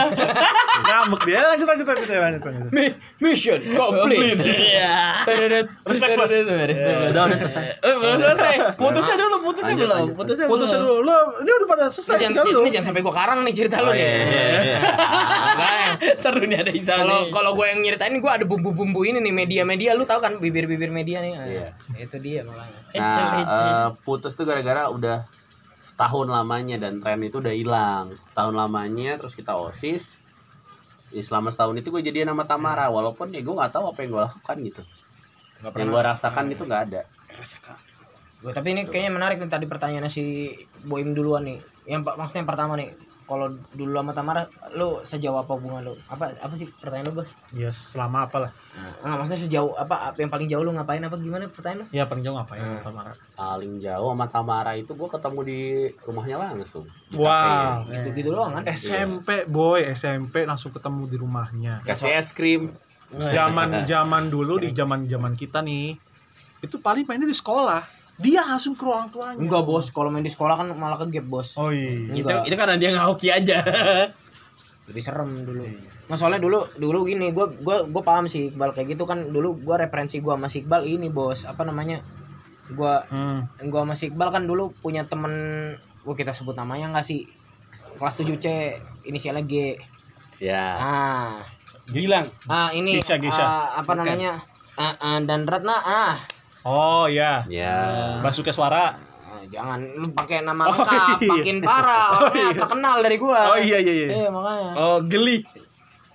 [SPEAKER 2] Ngambek dia. Lanjut lanjut lanjut lanjut. lanjut.
[SPEAKER 1] Mi- mission complete
[SPEAKER 3] Iya.
[SPEAKER 2] Respect, Bos.
[SPEAKER 4] udah udah selesai
[SPEAKER 3] Eh, belum selesai. Putusnya dulu, putusnya
[SPEAKER 4] Lanjut,
[SPEAKER 3] belum.
[SPEAKER 4] lanjut,
[SPEAKER 3] Putusnya belum.
[SPEAKER 2] Putusnya dulu. Lu ini udah pada
[SPEAKER 1] Ini
[SPEAKER 2] selesai
[SPEAKER 1] jangan,
[SPEAKER 2] kan lu.
[SPEAKER 1] ini jangan sampai gua karang nih cerita lu
[SPEAKER 4] Oh, iya, iya,
[SPEAKER 1] deh.
[SPEAKER 4] iya.
[SPEAKER 1] Makanya.
[SPEAKER 3] Seru nih ada Isa
[SPEAKER 1] Kalau
[SPEAKER 3] nih.
[SPEAKER 1] kalau gue yang nyeritain gue ada bumbu-bumbu ini nih media-media lu tahu kan bibir-bibir media nih. Ah,
[SPEAKER 4] Iya.
[SPEAKER 1] Itu dia makanya.
[SPEAKER 3] Ece,
[SPEAKER 4] Nah,
[SPEAKER 3] ece.
[SPEAKER 4] eh, putus tuh gara-gara udah setahun lamanya dan tren itu udah hilang. Setahun lamanya terus kita OSIS. Ya, selama setahun itu gue jadian sama Tamara walaupun ya gue nggak tahu apa yang gue lakukan gitu.
[SPEAKER 1] Gak
[SPEAKER 4] Yang gue rasakan itu nggak ada.
[SPEAKER 1] Gua- tapi ini kayaknya menarik nih tadi pertanyaannya si Boim duluan nih. Yang pa- maksudnya yang pertama nih, kalau dulu sama Tamara lu sejauh apa hubungan lu? Apa apa sih pertanyaan lu, Bos?
[SPEAKER 2] Ya selama apalah.
[SPEAKER 4] Nah.
[SPEAKER 1] Enggak maksudnya sejauh apa apa yang paling jauh lu ngapain apa gimana pertanyaan lu?
[SPEAKER 2] Ya paling jauh ngapain Tamara?
[SPEAKER 4] Paling jauh sama Tamara itu gue ketemu di rumahnya langsung.
[SPEAKER 2] Hmm.
[SPEAKER 4] Di
[SPEAKER 2] Wow.
[SPEAKER 4] Nah.
[SPEAKER 1] Gitu-gitu doang kan.
[SPEAKER 4] <laughs>
[SPEAKER 2] SMP boy, SMP langsung ketemu di rumahnya.
[SPEAKER 4] kafenya. Kasih es krim.
[SPEAKER 2] <laughs> Zaman zaman dulu di zaman zaman kita nih, itu paling mainnya di sekolah. Dia langsung ke orang tuanya.
[SPEAKER 1] Enggak, Bos. Kalau main di sekolah kan malah ke gap, Bos.
[SPEAKER 2] Oh iya.
[SPEAKER 3] Itu,
[SPEAKER 1] Enggak.
[SPEAKER 3] itu karena dia nggak hoki aja.
[SPEAKER 1] lebih serem dulu. Nah, soalnya dulu dulu gini, gua gua gua paham sih Iqbal kayak gitu kan dulu gua referensi gua sama si Iqbal ini, Bos. Apa namanya? Gua
[SPEAKER 2] Hmm.
[SPEAKER 1] gua sama si Iqbal kan dulu punya temen gua kita sebut namanya nggak sih? Kelas 7C inisialnya G.
[SPEAKER 4] Ya.
[SPEAKER 1] Ah.
[SPEAKER 3] Gilang.
[SPEAKER 1] Ah, ini
[SPEAKER 2] Gisha, Gisha.
[SPEAKER 1] ah, apa namanya? Ah, ah, dan Ratna ah.
[SPEAKER 2] Oh iya.
[SPEAKER 4] Ya.
[SPEAKER 2] Basuke suara.
[SPEAKER 1] Ah, jangan lu pakai nama
[SPEAKER 2] Oh,
[SPEAKER 1] lengkap,
[SPEAKER 2] iya.
[SPEAKER 1] makin parah orangnya terkenal dari gua.
[SPEAKER 2] Oh iya iya iya.
[SPEAKER 1] Iya, makanya.
[SPEAKER 3] Oh, geli.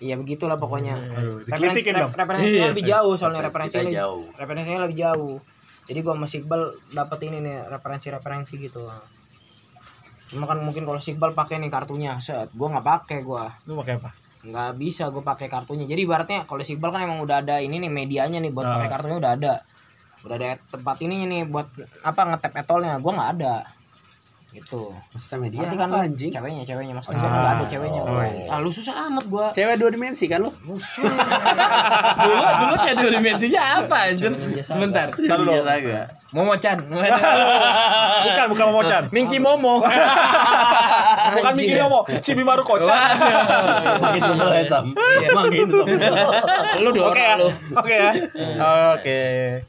[SPEAKER 1] Iya begitulah pokoknya.
[SPEAKER 2] iya.
[SPEAKER 1] Referensi,
[SPEAKER 2] dikelitikin dong.
[SPEAKER 1] rep- referensinya
[SPEAKER 3] Iya.
[SPEAKER 1] lebih jauh soalnya
[SPEAKER 4] Referensi
[SPEAKER 1] referensinya
[SPEAKER 4] kita
[SPEAKER 1] lebih-
[SPEAKER 4] jauh.
[SPEAKER 1] Referensinya lebih jauh. Jadi gua sama Sigbal dapat ini nih referensi-referensi gitu. Cuma kan mungkin kalau Sigbal pakai nih kartunya, set. Gua nggak pakai gua.
[SPEAKER 2] Lu pakai apa?
[SPEAKER 1] Nggak bisa gua pakai kartunya. Jadi ibaratnya kalau Sigbal kan emang udah ada ini nih medianya nih buat
[SPEAKER 2] Nah.
[SPEAKER 1] pakai kartunya udah ada. Udah ada tempat ini nih buat apa ngetep etolnya. Gua nggak ada. Gitu.
[SPEAKER 4] Maksudnya media
[SPEAKER 1] Nanti kan
[SPEAKER 4] Iya, apa anjing?
[SPEAKER 1] ceweknya, ceweknya maksudnya gua nggak ada ceweknya.
[SPEAKER 4] Oh,
[SPEAKER 1] gua.
[SPEAKER 4] iya.
[SPEAKER 1] Ah, lu susah amat gua.
[SPEAKER 4] Cewek dua dimensi kan lo? <laughs>
[SPEAKER 3] Dulu dulu kayak dua dimensinya apa anjir? Sebentar.
[SPEAKER 2] Ntar dulu.
[SPEAKER 4] Biasa gak?
[SPEAKER 1] Momo Chan.
[SPEAKER 2] Bukan bukan Momocan.
[SPEAKER 3] Mingki Momo.
[SPEAKER 2] Bukan Miki Momo. Cibi baru kocak. Oh, iya.
[SPEAKER 4] Makin sebel ya Sam. Makin sebel.
[SPEAKER 1] lu dong
[SPEAKER 2] Oke ya.
[SPEAKER 1] lu
[SPEAKER 2] Oke ya. Oke.